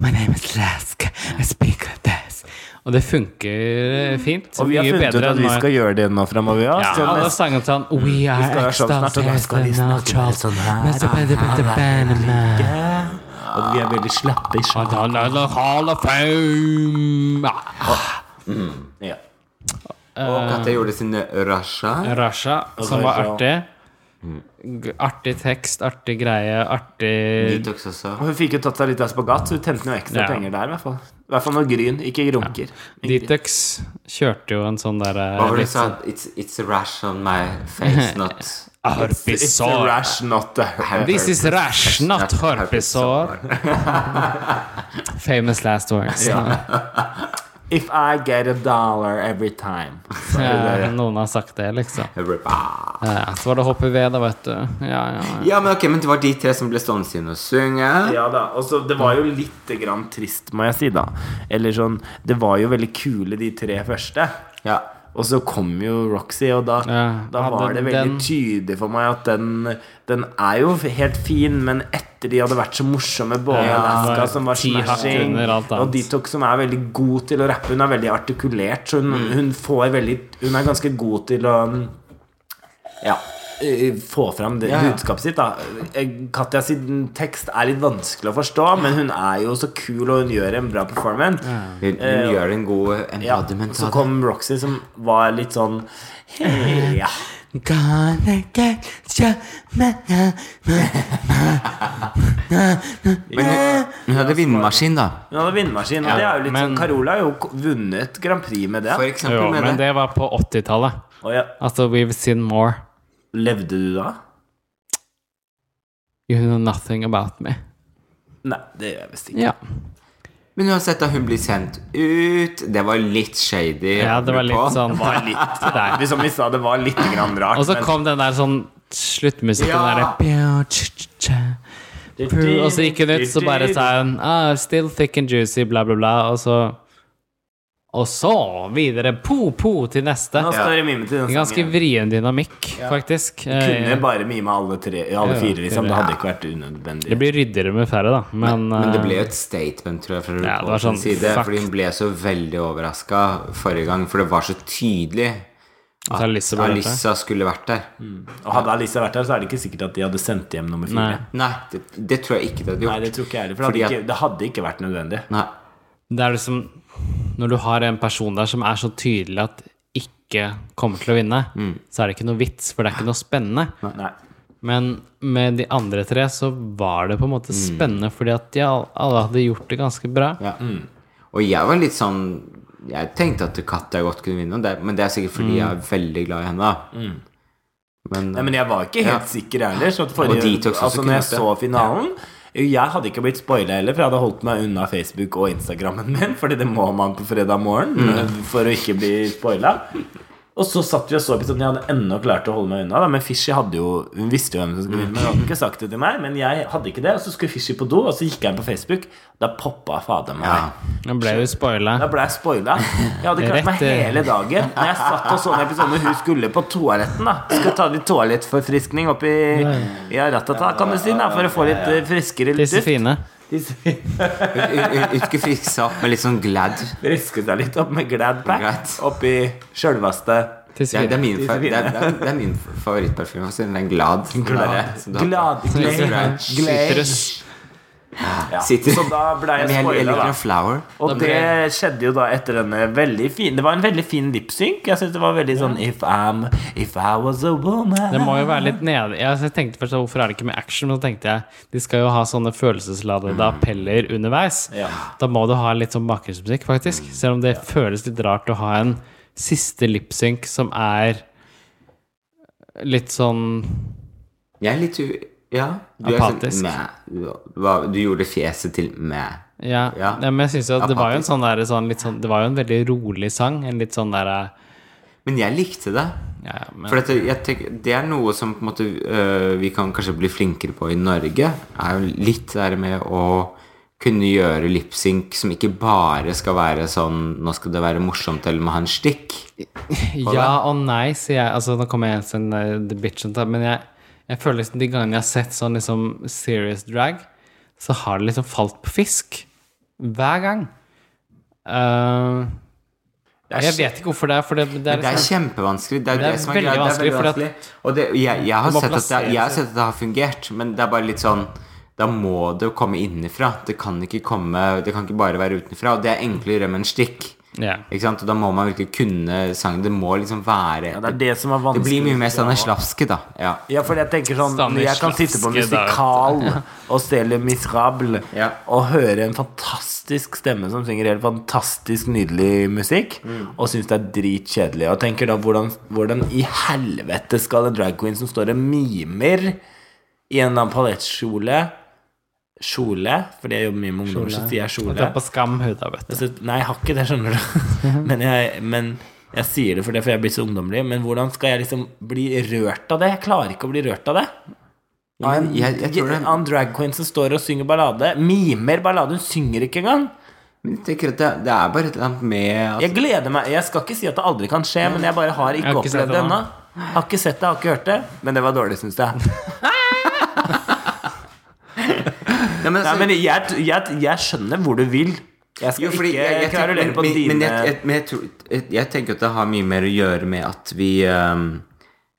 S3: My name is Alaska, I speak like this. Og det funker eh, fint.
S1: Og vi har
S3: Mye
S1: funnet ut
S3: bedre
S1: at
S3: enn
S1: vi
S3: når-
S1: skal gjøre det nå framover. Ja.
S3: ja,
S1: Så
S3: alle
S1: neste-
S3: sangene til han We
S1: skal
S3: are
S1: være sånn snart, og da skal vi
S3: extras, no
S1: snakke mer
S3: trolls,
S1: sånn her,
S3: men så blir det bare banana.
S1: Og vi er veldig slappe i
S3: Og Eh. da la la Hall of Fame.
S1: Ja.
S2: Og Katja gjorde sine rasha.
S3: Rasha, som var artig. G- Artig tekst, artig greie, artig
S2: Detox også.
S1: Og hun fikk jo tatt seg litt av spagat, så hun tjente noe ekstra
S3: Ja.
S1: penger der. I hvert fall I hvert fall når Gryn ikke runker.
S3: Ditex kjørte jo en sånn derre
S2: Hva var det
S3: litt
S2: du sa?
S3: sånn
S2: It's, it's a rash on my face, not
S1: It's a
S3: Harpisår.
S1: rash not a
S3: This is rash, not
S2: Not
S3: harpisår. Famous last words. Ja.
S1: If I get a dollar every time.
S3: Noen har sagt det, liksom.
S2: Ah.
S3: Ja, Så var det HPV, da, vet du. Ja, ja, ja.
S2: Ja, men ok, men det var de tre som ble stående igjen og synge.
S1: Ja da, og så Det var jo litt grann trist, må jeg si, da. Eller sånn Det var jo veldig kule, de tre første.
S2: Ja.
S1: Og så kom jo Roxy, og da,
S3: Ja,
S1: da var
S3: hadde
S1: det veldig
S3: den-
S1: tydelig for meg at den, den er jo helt fin, men etter de hadde vært så morsomme, både
S3: Ja, det
S1: Alaska
S3: var
S1: som var
S3: ti hakk
S1: smashing,
S3: under alt annet.
S1: og Detox som er veldig god til å rappe, hun er veldig artikulert, så hun,
S2: Mm.
S1: hun får veldig Hun er ganske god til å Ja. eh, Få fram det
S2: Ja, ja.
S1: budskapet sitt, da. Eh, Katja sin tekst er litt vanskelig å forstå, men hun er jo så kul, og hun gjør en bra performance.
S2: Hun, hun gjør en god
S1: Eh, Ja,
S2: embodiment
S1: så
S2: av det.
S1: kom Roxy som var litt sånn «Hey, ja.
S4: Gonna get you, man.
S2: Men hun, hun hadde vindmaskin, da.
S1: Hun hadde vindmaskin, og det er jo litt
S3: men-
S1: sånn Carola har jo k- vunnet Grand Prix med det.
S2: For eksempel
S3: Jo,
S2: med
S3: men
S2: det.
S3: det var på 80-tallet.
S1: Og ja,
S3: Altså, we've seen more.
S1: levde du da?
S3: You know nothing about me.
S1: Nei, det gjør jeg visst ikke.
S3: Ja.
S2: Men uansett, da hun blir sendt ut Det var litt shady.
S3: ja,
S2: å
S3: det var
S2: høre på.
S3: litt sånn
S1: Det var litt
S3: Der.
S1: vi- Som vi sa, det var litt grann rart.
S3: Og så kom den der sånn sluttmusikken
S2: Ja.
S3: der «Pew, tsk, tsk, tsk». Puh, Og så gikk hun ut, så bare sa hun ah, Still thick and juicy, bla, bla, bla. Og så Og så videre po-po til neste.
S1: Nå står det mime til
S3: En
S1: den
S3: ganske
S1: sangen.
S3: vrien dynamikk, faktisk.
S1: Kunne
S3: Eh,
S1: bare mime alle tre, alle
S3: Ja,
S1: fire, liksom. Det hadde
S2: ja.
S1: ikke vært
S3: Det
S1: unødvendig.
S3: blir ryddigere med færre, da, men,
S2: Men det ble
S3: eh,
S2: jo et statement, tror jeg, fra
S3: Ja, det var
S2: RuPaul's
S3: sånn,
S2: side.
S3: fuck.
S2: Fordi hun ble så veldig overraska forrige gang, for det var så tydelig
S3: at Alissa ble Mm. dette.
S2: Alissa skulle vært der.
S1: Og hadde Alisa vært her, så er det ikke sikkert at de hadde sendt hjem nummer fire.
S3: Nei.
S1: Nei,
S2: Nei, det, det tror jeg ikke det hadde gjort.
S1: det tror ikke jeg heller, for det
S2: Fordi
S1: hadde
S2: at-
S1: ikke, det hadde ikke vært nødvendig.
S2: Nei.
S3: Det er liksom Når du har en person der som er så tydelig at ikke kommer til å vinne,
S2: Mm.
S3: så er det ikke noe vits, for det er ikke noe spennende.
S1: Nei.
S3: Men med de andre tre så var det på en måte
S2: Mm.
S3: spennende, fordi at de all- alle hadde gjort det ganske bra.
S2: Ja.
S1: Mm.
S2: Og jeg var litt sånn Jeg tenkte at Katja godt kunne vinne, og det, men det er sikkert fordi jeg er veldig glad i henne. da. Men,
S1: Mm. Nei, men jeg var ikke helt
S2: Ja.
S1: sikker heller. Så at forrige,
S2: Og detox også
S1: altså,
S2: kunne
S1: når jeg
S2: vært det.
S1: så finalen Jeg hadde ikke blitt spoila heller, for jeg hadde holdt meg unna Facebook og Instagrammen min. Fordi det må man på fredag morgen
S2: Mm.
S1: eh, for å ikke bli spoila. Og så satt vi og så episoden. Jeg hadde ennå klart å holde meg unna. Da. Men Fishy hadde jo Hun visste jo hvem som
S2: Mm.
S1: skulle vinne. Men hun hadde ikke sagt det til meg. Men jeg hadde ikke det. Og så skulle Fishy på do, og så gikk jeg inn på Facebook. Da poppa fader meg.
S2: Ja.
S3: Nå ble jo spoila.
S1: Da ble jeg spoila. Jeg hadde klart meg
S3: Rett, eh.
S1: hele dagen. Når jeg satt og så en episode hvor hun skulle på toaletten, da. Skulle ta litt toalettforfriskning oppi ja, ratata, kan du si, da, for å få litt eh, friskere luft.
S3: Disse fine.
S1: Disse
S2: Hun hun- hun skulle friske seg opp med litt sånn glad.
S1: Friske seg litt opp med Gladpack
S2: Greit.
S1: oppi sjølveste
S3: Disse
S2: Det er, det er
S3: fine.
S2: min, fa-
S1: Fine.
S2: det er, det er, det er min altså, favorittparfyme. Den glad. Den der, som du har på.
S1: Glad, glad, glad.
S2: Glad.
S3: Sitrus.
S1: Ja.
S2: Sitter-
S1: Så da ble
S2: Men
S1: jeg
S2: jeg, jeg
S1: spoila,
S2: liker
S1: da.
S2: en flower.
S1: Og
S3: Da ble-
S1: det skjedde jo da etter denne veldig fin Det var en veldig fin lipsynk. Jeg synes det var veldig sånn If I'm If I was a woman
S3: Det må jo være litt nede Jeg tenkte først hvorfor er det ikke med action, men så tenkte jeg de skal jo ha sånne
S2: Mm.
S3: følelsesladede appeller underveis.
S1: Ja.
S3: Da må du ha litt sånn bakgrunnsmusikk, faktisk.
S2: Mm.
S3: Selv om det føles litt rart å ha en siste lipsync som er litt sånn
S2: Jeg er litt u... Ja. Du er
S3: Apatisk.
S2: sånn meh. Hva- Du gjorde fjeset til meh.
S3: Ja,
S2: Ja.
S3: Nei, men jeg synes jo at det var jo en
S2: Apatisk.
S3: sånn der, sånn, litt sånn, Det var jo en veldig rolig sang. En litt sånn derre
S2: Men jeg likte det.
S3: ja, ja, men-
S2: For dette, jeg tenker, det er noe som på en måte øh, vi kan kanskje bli flinkere på i Norge. Er jo litt det der med å kunne gjøre lipsync som ikke bare skal være sånn Nå skal det være morsomt, eller må ha en stikk.
S3: Ja og nei, sier jeg. Altså, nå kommer jeg til en eh, the bitch and men jeg, jeg føler liksom de gangene jeg har sett sånn liksom serious drag, så har det liksom falt på fisk. Hver gang. Eh,
S1: Det er
S3: jeg vet ikke hvorfor det er, for det, det er
S2: Det er
S3: liksom
S2: kjempevanskelig. Det er,
S3: Det er
S2: det som er
S3: veldig
S2: greia. Det er
S3: vanskelig,
S2: veldig
S3: for at-
S2: vanskelig. Og det, jeg, jeg, har
S3: Du må
S2: sett at det,
S3: plassere
S2: jeg har
S3: seg.
S2: sett at det har fungert, men det er bare litt sånn da må det jo komme innenfra. Det kan ikke komme Det kan ikke bare være utenfra. Og det er enklere med en stikk.
S3: ja.
S2: Ikke sant? Og da må man virkelig kunne sangen. Det må liksom være
S1: Ja, det er det som er
S2: Det
S1: vanskelig.
S2: blir mye mer stanislavske, da. Ja.
S1: Ja, for jeg tenker sånn
S3: Stanislavski
S1: Jeg kan sitte på
S3: der, vet du.
S1: musikal og stelle Miserable
S2: Ja.
S1: og høre en fantastisk stemme som synger helt fantastisk nydelig musikk, og synes det er dritkjedelig. Og tenker da hvordan, hvordan i helvete skal en drag queen som står og mimer i en eller annen palettkjole Kjole, fordi jeg jobber mye med ungdommer, så sier jeg kjole.
S3: Det er på skam huda, vet du.
S1: Jeg synes- nei, jeg har ikke det, skjønner du. Men jeg, men jeg sier det for det, for jeg er blitt så ungdommelig. Men hvordan skal jeg liksom bli rørt av det? Jeg klarer ikke å bli rørt av det.
S2: Ja, men jeg, jeg tror det
S1: En drag queen som står og synger ballade, mimer ballade, hun synger ikke engang.
S2: Men jeg tenker at det, det er bare et eller annet med at
S1: Jeg gleder meg. Jeg skal ikke si at det aldri kan skje, men jeg bare har
S3: Jeg
S1: ikke,
S3: har ikke sett
S1: opplevd det
S3: det
S1: ennå.
S3: nå.
S1: Har ikke sett det, har ikke hørt det. Men det var dårlig, syns jeg.
S2: Nei, men,
S1: Nei,
S2: altså-
S1: men jeg, jeg, jeg skjønner hvor du vil. Jeg skal
S2: Jo, fordi
S1: ikke
S2: jeg- jeg tenker-
S1: kverulere på
S2: men-
S1: dine
S2: Men jeg, jeg, men jeg, tror, jeg, jeg tenker at det har mye mer å gjøre med at vi ehm,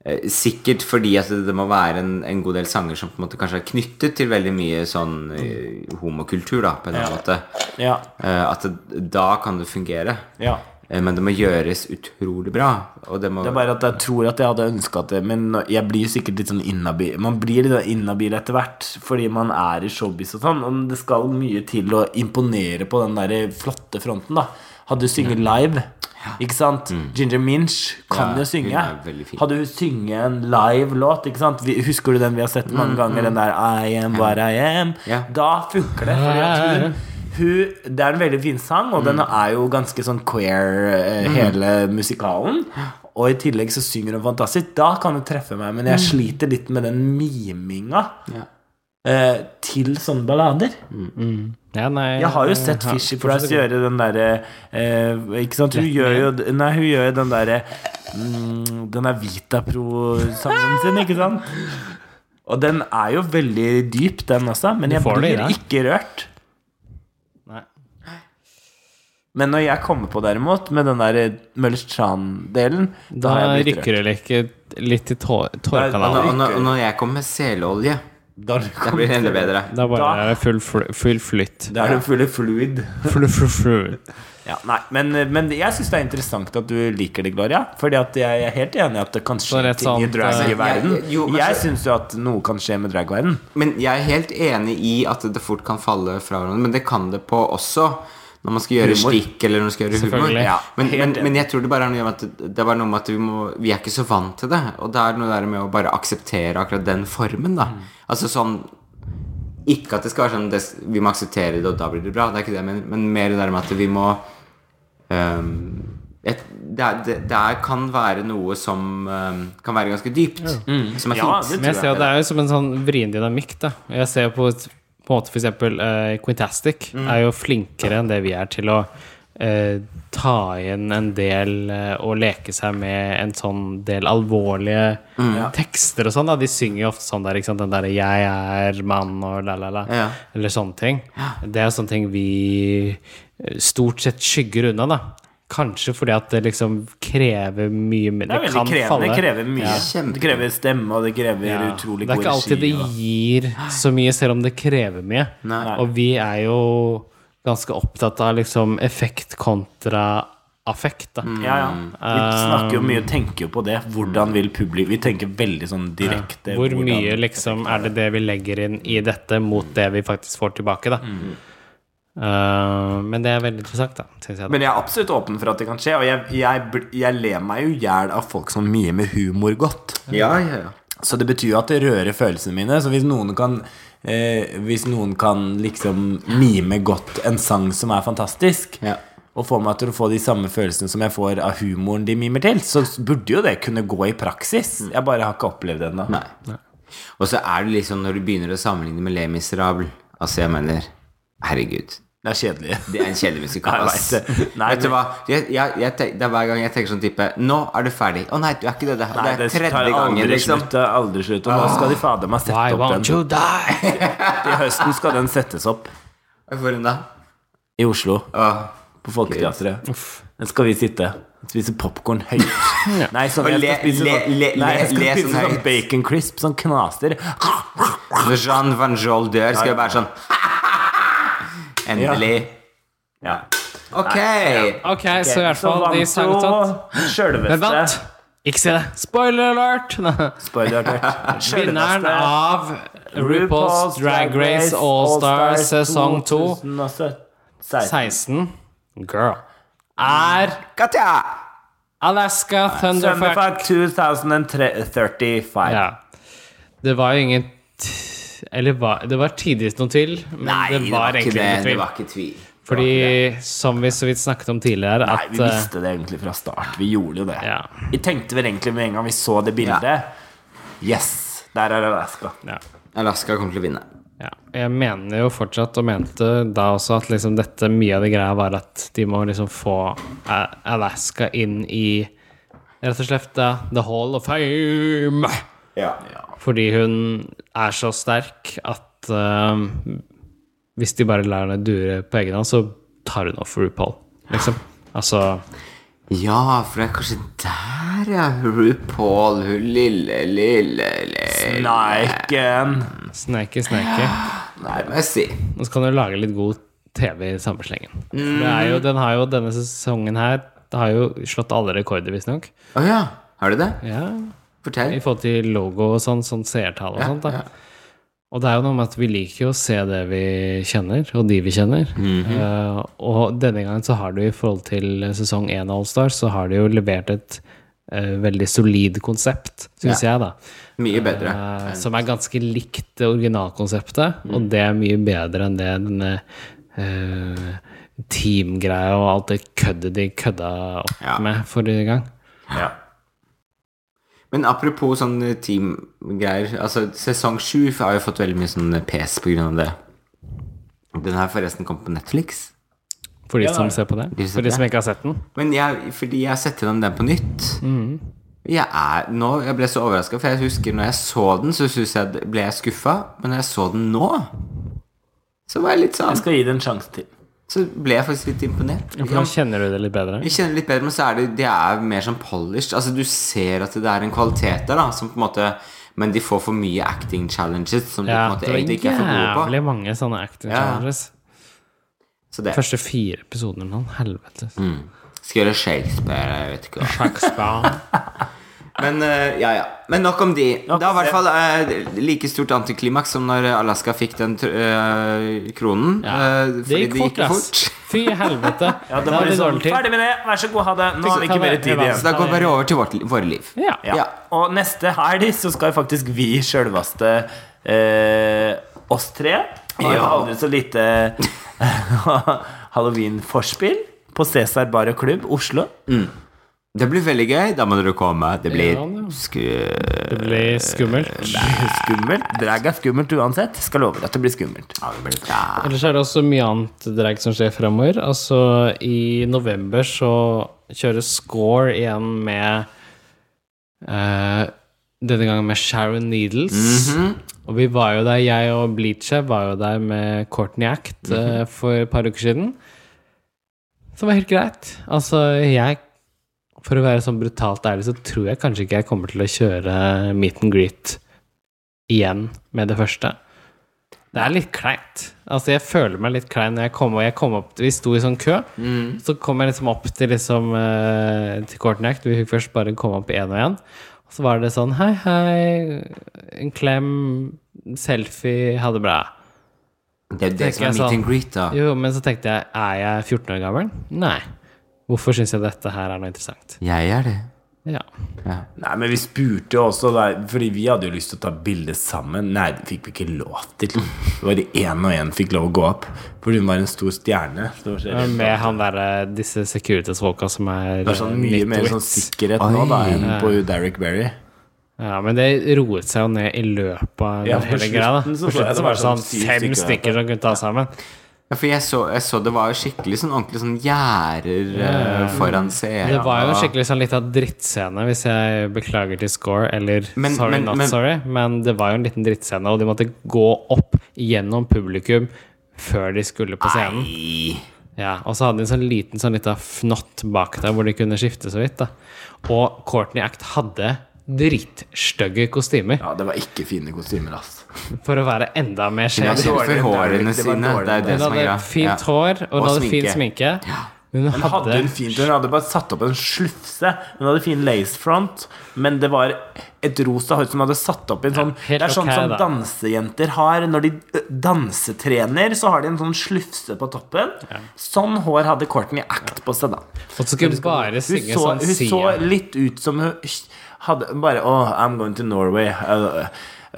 S2: eh, Sikkert fordi at det, det må være en, en god del sanger som på en måte kanskje er knyttet til veldig mye sånn eh, homokultur, da, på en eller annen måte.
S1: ja,
S2: Eh, at det, da kan det fungere.
S1: ja.
S2: Eh, men det må gjøres utrolig bra. Og det må
S1: Det er bare at jeg tror at jeg hadde ønska det, men nå- jeg blir jo sikkert litt sånn inhabil. Man blir litt sånn inhabil etter hvert fordi man er i showbiz og sånn, og det skal mye til å imponere på den der flotte fronten, da. Hadde hun synget live, ikke sant? Ginger Minch kan jo
S2: Mm. Ja, hun
S1: synge.
S2: er veldig fin.
S1: Hadde hun synge en live låt, ikke sant? Vi, husker du den vi har sett mange ganger, den der I am what I am?
S2: Mm, Ja.
S1: Da funker det. Fordi at hun, hun, det er en veldig fin sang,
S3: Mm.
S1: og den er jo ganske sånn queer, eh, hele musikalen. Og i tillegg så synger hun fantastisk. Da kan hun treffe meg, men
S3: Mm.
S1: jeg sliter litt med den miminga
S2: Ja.
S1: eh, til sånne ballader.
S3: Ja, nei,
S1: Jeg har jo sett Fishy Price gjøre den derre eh, Ikke sant, hun gjør jo Nei, hun gjør jo den derre mm, Den der Vitapro-sangen sin, ikke sant? Og den er jo veldig dyp, den også, men
S3: Du
S1: jeg
S3: får det i
S1: blir
S3: deg.
S1: ikke rørt.
S3: Nei.
S1: Men når jeg kommer på, derimot, med den der eh, Møllers Tran-delen, da
S3: Da
S1: har jeg blitt
S3: rykker
S1: rørt.
S3: det like litt i tå-
S2: og,
S3: tårekanalen.
S2: når, og, når, og når jeg kommer med selolje,
S1: Da, du
S2: da
S1: kommer-
S2: blir det enda bedre.
S3: Da bare er det full, fl- full flytt.
S1: da er du full av fluid.
S3: Full, full, full.
S1: Ja, nei, men, eh, men jeg syns det er interessant at du liker det, Gloria. Fordi at jeg er helt enig i at det kan skje
S3: Så rett
S1: ting i
S3: sant, eh,
S1: dragverden.
S2: Jeg- jo, men
S1: Jeg
S2: så-
S1: syns jo at noe kan skje med dragverden.
S2: Men jeg er helt enig i at det fort kan falle fra hverandre, men det kan det på også. Når man skal gjøre
S1: Humor.
S2: stikk eller når man skal gjøre humor.
S3: Selvfølgelig. Ja,
S2: men,
S1: helt
S2: men,
S1: enig.
S2: men jeg tror det bare er noe med at det var noe med at vi, må, vi er ikke så vant til det. Og det er noe der med å bare akseptere akkurat den formen, da.
S1: Mm.
S2: Altså sånn Ikke at det skal være sånn det, vi må akseptere det, og da blir det bra. Det er ikke det, men, men mer det der med at vi må ehm, et, det, er- det, det er, kan være noe som ehm, kan være ganske dypt. Som er
S1: Mm. Ja,
S2: fint.
S1: det
S3: Men jeg ser jo at det er jo som en sånn vrien dynamikk, da. Og Jeg ser jo på, et- på en måte for eksempel eh, Quintastic
S1: Mm.
S3: er jo flinkere enn det vi er til å eh, ta inn en del eh, og leke seg med en sånn del alvorlige
S1: Mm.
S3: tekster og sånn, da. De synger jo ofte sånn der, ikke sant. Den derre 'jeg er mann' og la, la, la.
S2: Ja.
S3: Eller sånne ting. Det er jo sånne ting vi eh, stort sett skygger unna, da. Kanskje fordi at det liksom krever mye mer.
S1: Det er
S3: Det,
S1: veldig
S3: kan
S1: krevende.
S3: falle.
S1: Det krever mye.
S2: Kjempe-
S1: Det krever stemme, og det krever
S3: Ja.
S1: utrolig
S3: Det er
S1: god
S3: ikke alltid det
S1: regi. og-
S3: gir så mye, selv om det krever mye.
S2: Nei.
S3: Og vi er jo ganske opptatt av liksom effekt kontra affekt. Da.
S1: Ja, ja. Vi
S3: Eh,
S1: snakker jo mye og tenker jo på det. Hvordan vil publikum Vi tenker veldig sånn direkte.
S3: Hvor
S1: hvordan-
S3: mye liksom er det det vi legger inn i dette, mot det vi faktisk får tilbake, da.
S1: Mm.
S3: Eh, men det er veldig interessant, da, syns jeg. Da.
S1: Men jeg er absolutt åpen for at det kan skje, og jeg, jeg, bl- jeg ler meg jo i hjel av folk som mye med humor godt.
S2: Ja, ja, ja.
S1: Så det betyr jo at det rører følelsene mine. Så hvis noen kan eh, Hvis noen kan liksom mime godt en sang som er fantastisk,
S2: Ja.
S1: og få meg til å få de samme følelsene som jeg får av humoren de mimer til, så burde jo det kunne gå i praksis. Jeg bare har ikke opplevd det ennå.
S2: Mm. Nei. Og så er det liksom når du begynner å sammenligne med Le Miserable Altså, jeg mener Herregud.
S1: Det er kjedelig.
S2: Det er en kjedelig musikal.
S1: Nei,
S2: ass.
S1: jeg vet det. Nei,
S2: Vet du hva? Jeg, jeg, jeg tenk, det er hver gang jeg tenker sånn type Nå er du ferdig. Å nei, du er ikke det. Det er,
S1: Nei, det
S2: det er
S1: tar
S2: tredje
S1: aldri
S2: gangen, liksom.
S1: slutt. det er Aldri slutt. Og nå skal de fader meg
S3: Why
S1: sette opp
S3: won't
S1: den.
S3: you die?
S1: I høsten skal den settes opp
S2: Hvor da?
S1: i Oslo.
S2: Åh.
S1: På Folketeatret. Der skal vi sitte og spise popkorn høyt. Nei, sånn,
S2: Og
S1: jeg skal
S2: le-
S1: spise
S2: le-
S1: sånn,
S2: le-
S1: nei,
S2: le-
S1: jeg skal
S2: le
S1: spise
S2: sånn
S1: sånn
S2: høyt.
S1: bacon crisp som knaster.
S2: Når Jean Van Joel dør, skal jeg være sånn Endelig.
S1: Ja.
S2: Ok!
S3: Ok, så i hvert fall de sang tatt. Men vent!
S1: sjølveste
S3: Ikke si det! Spoiler alert! Vinneren av RuPaul's Drag Race All-Star sesong 2
S1: 2016.
S3: 16 Girl er
S2: Katja!
S3: Alaska Thunderfuck.
S1: Thunderfuck 2035.
S3: Ja. Det var jo ingen t- Eller var, det var tidvis noe tvil, men
S2: Nei,
S3: det var egentlig
S2: ikke det.
S3: ikke noe
S2: Det
S3: tvil.
S2: var ikke tvil.
S3: Fordi, som vi så vidt snakket om tidligere,
S1: Nei,
S3: at
S1: vi
S3: eh,
S1: visste det egentlig fra start. Vi gjorde jo det.
S3: Ja.
S1: Vi tenkte vel egentlig med en gang vi så det bildet Yes! Der er Alaska.
S3: ja.
S2: Alaska kommer til å vinne.
S3: Ja, jeg mener jo fortsatt, og mente da også, at liksom dette, mye av det greia var at de må liksom få eh, Alaska inn i rett og slett da, The Hall of Fame.
S2: Ja.
S3: Fordi hun er så sterk at eh, hvis de bare lar henne dure på egen hånd, så tar hun off RuPaul, liksom. Altså
S2: Ja, for det er kanskje der, ja. RuPaul, hun lille, lille, lille
S1: Niken.
S3: sneike, sneike.
S2: Nei, må jeg si.
S3: Og så kan du lage litt god TV i samme slengen. For det er jo, den har jo denne sesongen her det har jo slått alle rekorder, visstnok.
S2: Å ja. Har du det?
S3: Ja,
S2: Fortell.
S3: I forhold til logo og sånn, sånn seertall og sånt. da
S2: ja.
S3: Og det er jo noe med at vi liker jo å se det vi kjenner, og de vi kjenner.
S2: Mhm.
S3: Eh, og denne gangen så har du i forhold til sesong én av Allstars, så har du jo levert et eh, veldig solid konsept, syns jeg, da.
S2: Mye bedre.
S3: Eh, som er ganske likt det originalkonseptet, og
S2: Mm.
S3: det er mye bedre enn det denne eh, teamgreia og alt det køddet de kødda opp
S2: Ja.
S3: med forrige gang.
S1: Ja.
S2: Men apropos sånn teamgreier Altså, sesong sju har jo fått veldig mye sånn pes på grunn av det. Den har forresten kommet på Netflix.
S3: For de som ser på det.
S2: De som
S3: For de
S2: ser
S3: som ikke har sett den.
S2: Men jeg, fordi jeg setter den den på nytt. Jeg er nå, jeg ble så overraska, for jeg husker når jeg så den, så synes jeg, det- ble jeg skuffa. Men når jeg så den nå, så var jeg litt sånn
S1: Jeg skal gi det en sjanse til.
S2: Så ble jeg faktisk litt imponert.
S3: For nå kjenner du det litt bedre.
S2: Jeg kjenner litt bedre, men så er det, det er mer sånn polished. Altså, du ser at det er en kvalitet der, da, som på en måte Men de får for mye acting challenges som de
S3: Ja,
S2: på en måte
S3: det var
S2: egentlig ikke er for gode på.
S3: jævlig mange sånne acting
S2: Ja.
S3: challenges.
S2: Så det
S3: Første fire episoder nå, helvete.
S2: Mm. skal gjøre Shakespeare, jeg vet ikke hva.
S3: Spa.
S2: Men eh, ja, ja. Men nok om de. Det var i hvert fall eh, like stort antiklimaks som når Alaska fikk den tr- eh, kronen. eh,
S3: Det
S2: fordi
S3: gikk fort, ass. Fy helvete.
S1: Ja,
S3: Da
S1: det var
S3: hadde vi
S1: liksom,
S3: dårlig tid.
S1: Ferdig med det. Vær så god, ha det. Nå har vi ikke mer tid
S2: Så
S1: igjen.
S2: da går vi bare over til vårt, våre liv.
S3: Ja.
S1: Ja. Og neste helg så skal faktisk vi sjølveste eh, oss tre ha et aldri så lite halloween-forspill på Cæsar Bar og Klubb Oslo.
S2: Det blir veldig gøy. Da må dere komme. Det blir
S3: Ja, ja.
S2: sku...
S3: Det ble
S2: Eh,
S3: skummelt.
S1: Skummelt. Drag er skummelt uansett. Skal love deg at det blir skummelt.
S2: Ja, det blir bra.
S3: Ellers er det også mye annet drag som skjer fremover. Altså, i november så kjører Score igjen med eh, Denne gangen med Sharon Needles. Og vi var jo der, jeg og Bleacher var jo der med Courtney Act eh, for et par uker siden. Som var helt greit. Altså, jeg For å være sånn brutalt ærlig, så tror jeg kanskje ikke jeg kommer til å kjøre meet and greet igjen med det første. Det er litt kleint. Altså, jeg føler meg litt klein når jeg kom, og jeg kom opp Vi sto i sånn kø.
S1: Mm.
S3: Så kom jeg liksom opp til liksom eh, Til Courtney Vi fikk først bare komme opp én og én. Og så var det sånn Hei, hei. En klem. Selfie. Ha det bra.
S2: Det er jo det
S3: Tenker
S2: som er
S3: jeg
S2: meet
S3: sånn.
S2: and greet, da.
S3: Jo, men så tenkte jeg, er jeg 14 år gammel? Nei. Hvorfor syns jeg dette her er noe interessant?
S2: Jeg er det.
S3: Ja.
S2: Ja.
S1: Nei, men vi spurte jo også der, Fordi vi hadde jo lyst til å ta bilde sammen Nei, det fikk vi ikke lov til Det var det en og en fikk lov å gå opp Fordi hun var en stor stjerne Så det var så-
S3: Med han derre disse Securitas-folka som er, eh,
S1: Det er sånn mye
S3: litt
S1: mer sånn
S3: wits.
S1: sikkerhet nå da Enn på Derek Berry
S3: Ja, men det roet seg jo ned i løpet av
S1: Ja, på
S3: hele greia. da.
S1: slutten så
S3: På
S1: så jeg det
S3: slutten så
S1: var
S3: var det sånn
S1: sånn syv
S3: fem
S1: stykker der.
S3: stykker som kunne ta sammen.
S2: Ja, for jeg så, jeg så det var jo skikkelig sånn ordentlig sånn gjerder eh, foran seerne.
S3: Det var jo
S2: og-
S3: skikkelig sånn litt av drittscene, hvis jeg beklager til score, eller
S2: Men-
S3: sorry,
S2: men-
S3: not
S2: men-
S3: sorry, men det var jo en liten drittscene, og de måtte gå opp gjennom publikum før de skulle på scenen.
S2: Nei.
S3: Ja, og så hadde de en sånn liten sånn lita fnott bak der hvor de kunne skifte så vidt. da. Og Courtney Act hadde drittstygge kostymer,
S1: Ja, det var ikke fine kostymer ass
S3: for å være enda mer
S2: Hun har
S3: skjev.
S1: dårlig.
S2: kjempefine
S1: Det
S2: hårene
S1: var
S2: sine.
S1: dårlig.
S2: Det er jo det
S3: Hun
S2: som er
S3: hadde
S2: greia. Ja.
S3: fint hår, og hun
S2: Og
S3: hadde fin sminke. Men hun
S1: Hun hadde
S3: hadde
S1: en fin Hun hadde bare satt opp en slufse. Hun hadde fin lace front, men det var et rosa hår som hun hadde satt opp i en sånn
S3: Ja, helt
S1: Det er sånn
S3: ok,
S1: som
S3: da.
S1: dansejenter har når de ø, dansetrener, så har de en sånn slufse på toppen. Sånn hår hadde Courtney Act på seg, da.
S3: Og så skulle hun bare
S1: Hun
S3: synge
S1: så,
S3: sånn
S1: hun
S3: Sia.
S1: så litt ut som hun hadde bare Oh, I'm going to Norway. Uh,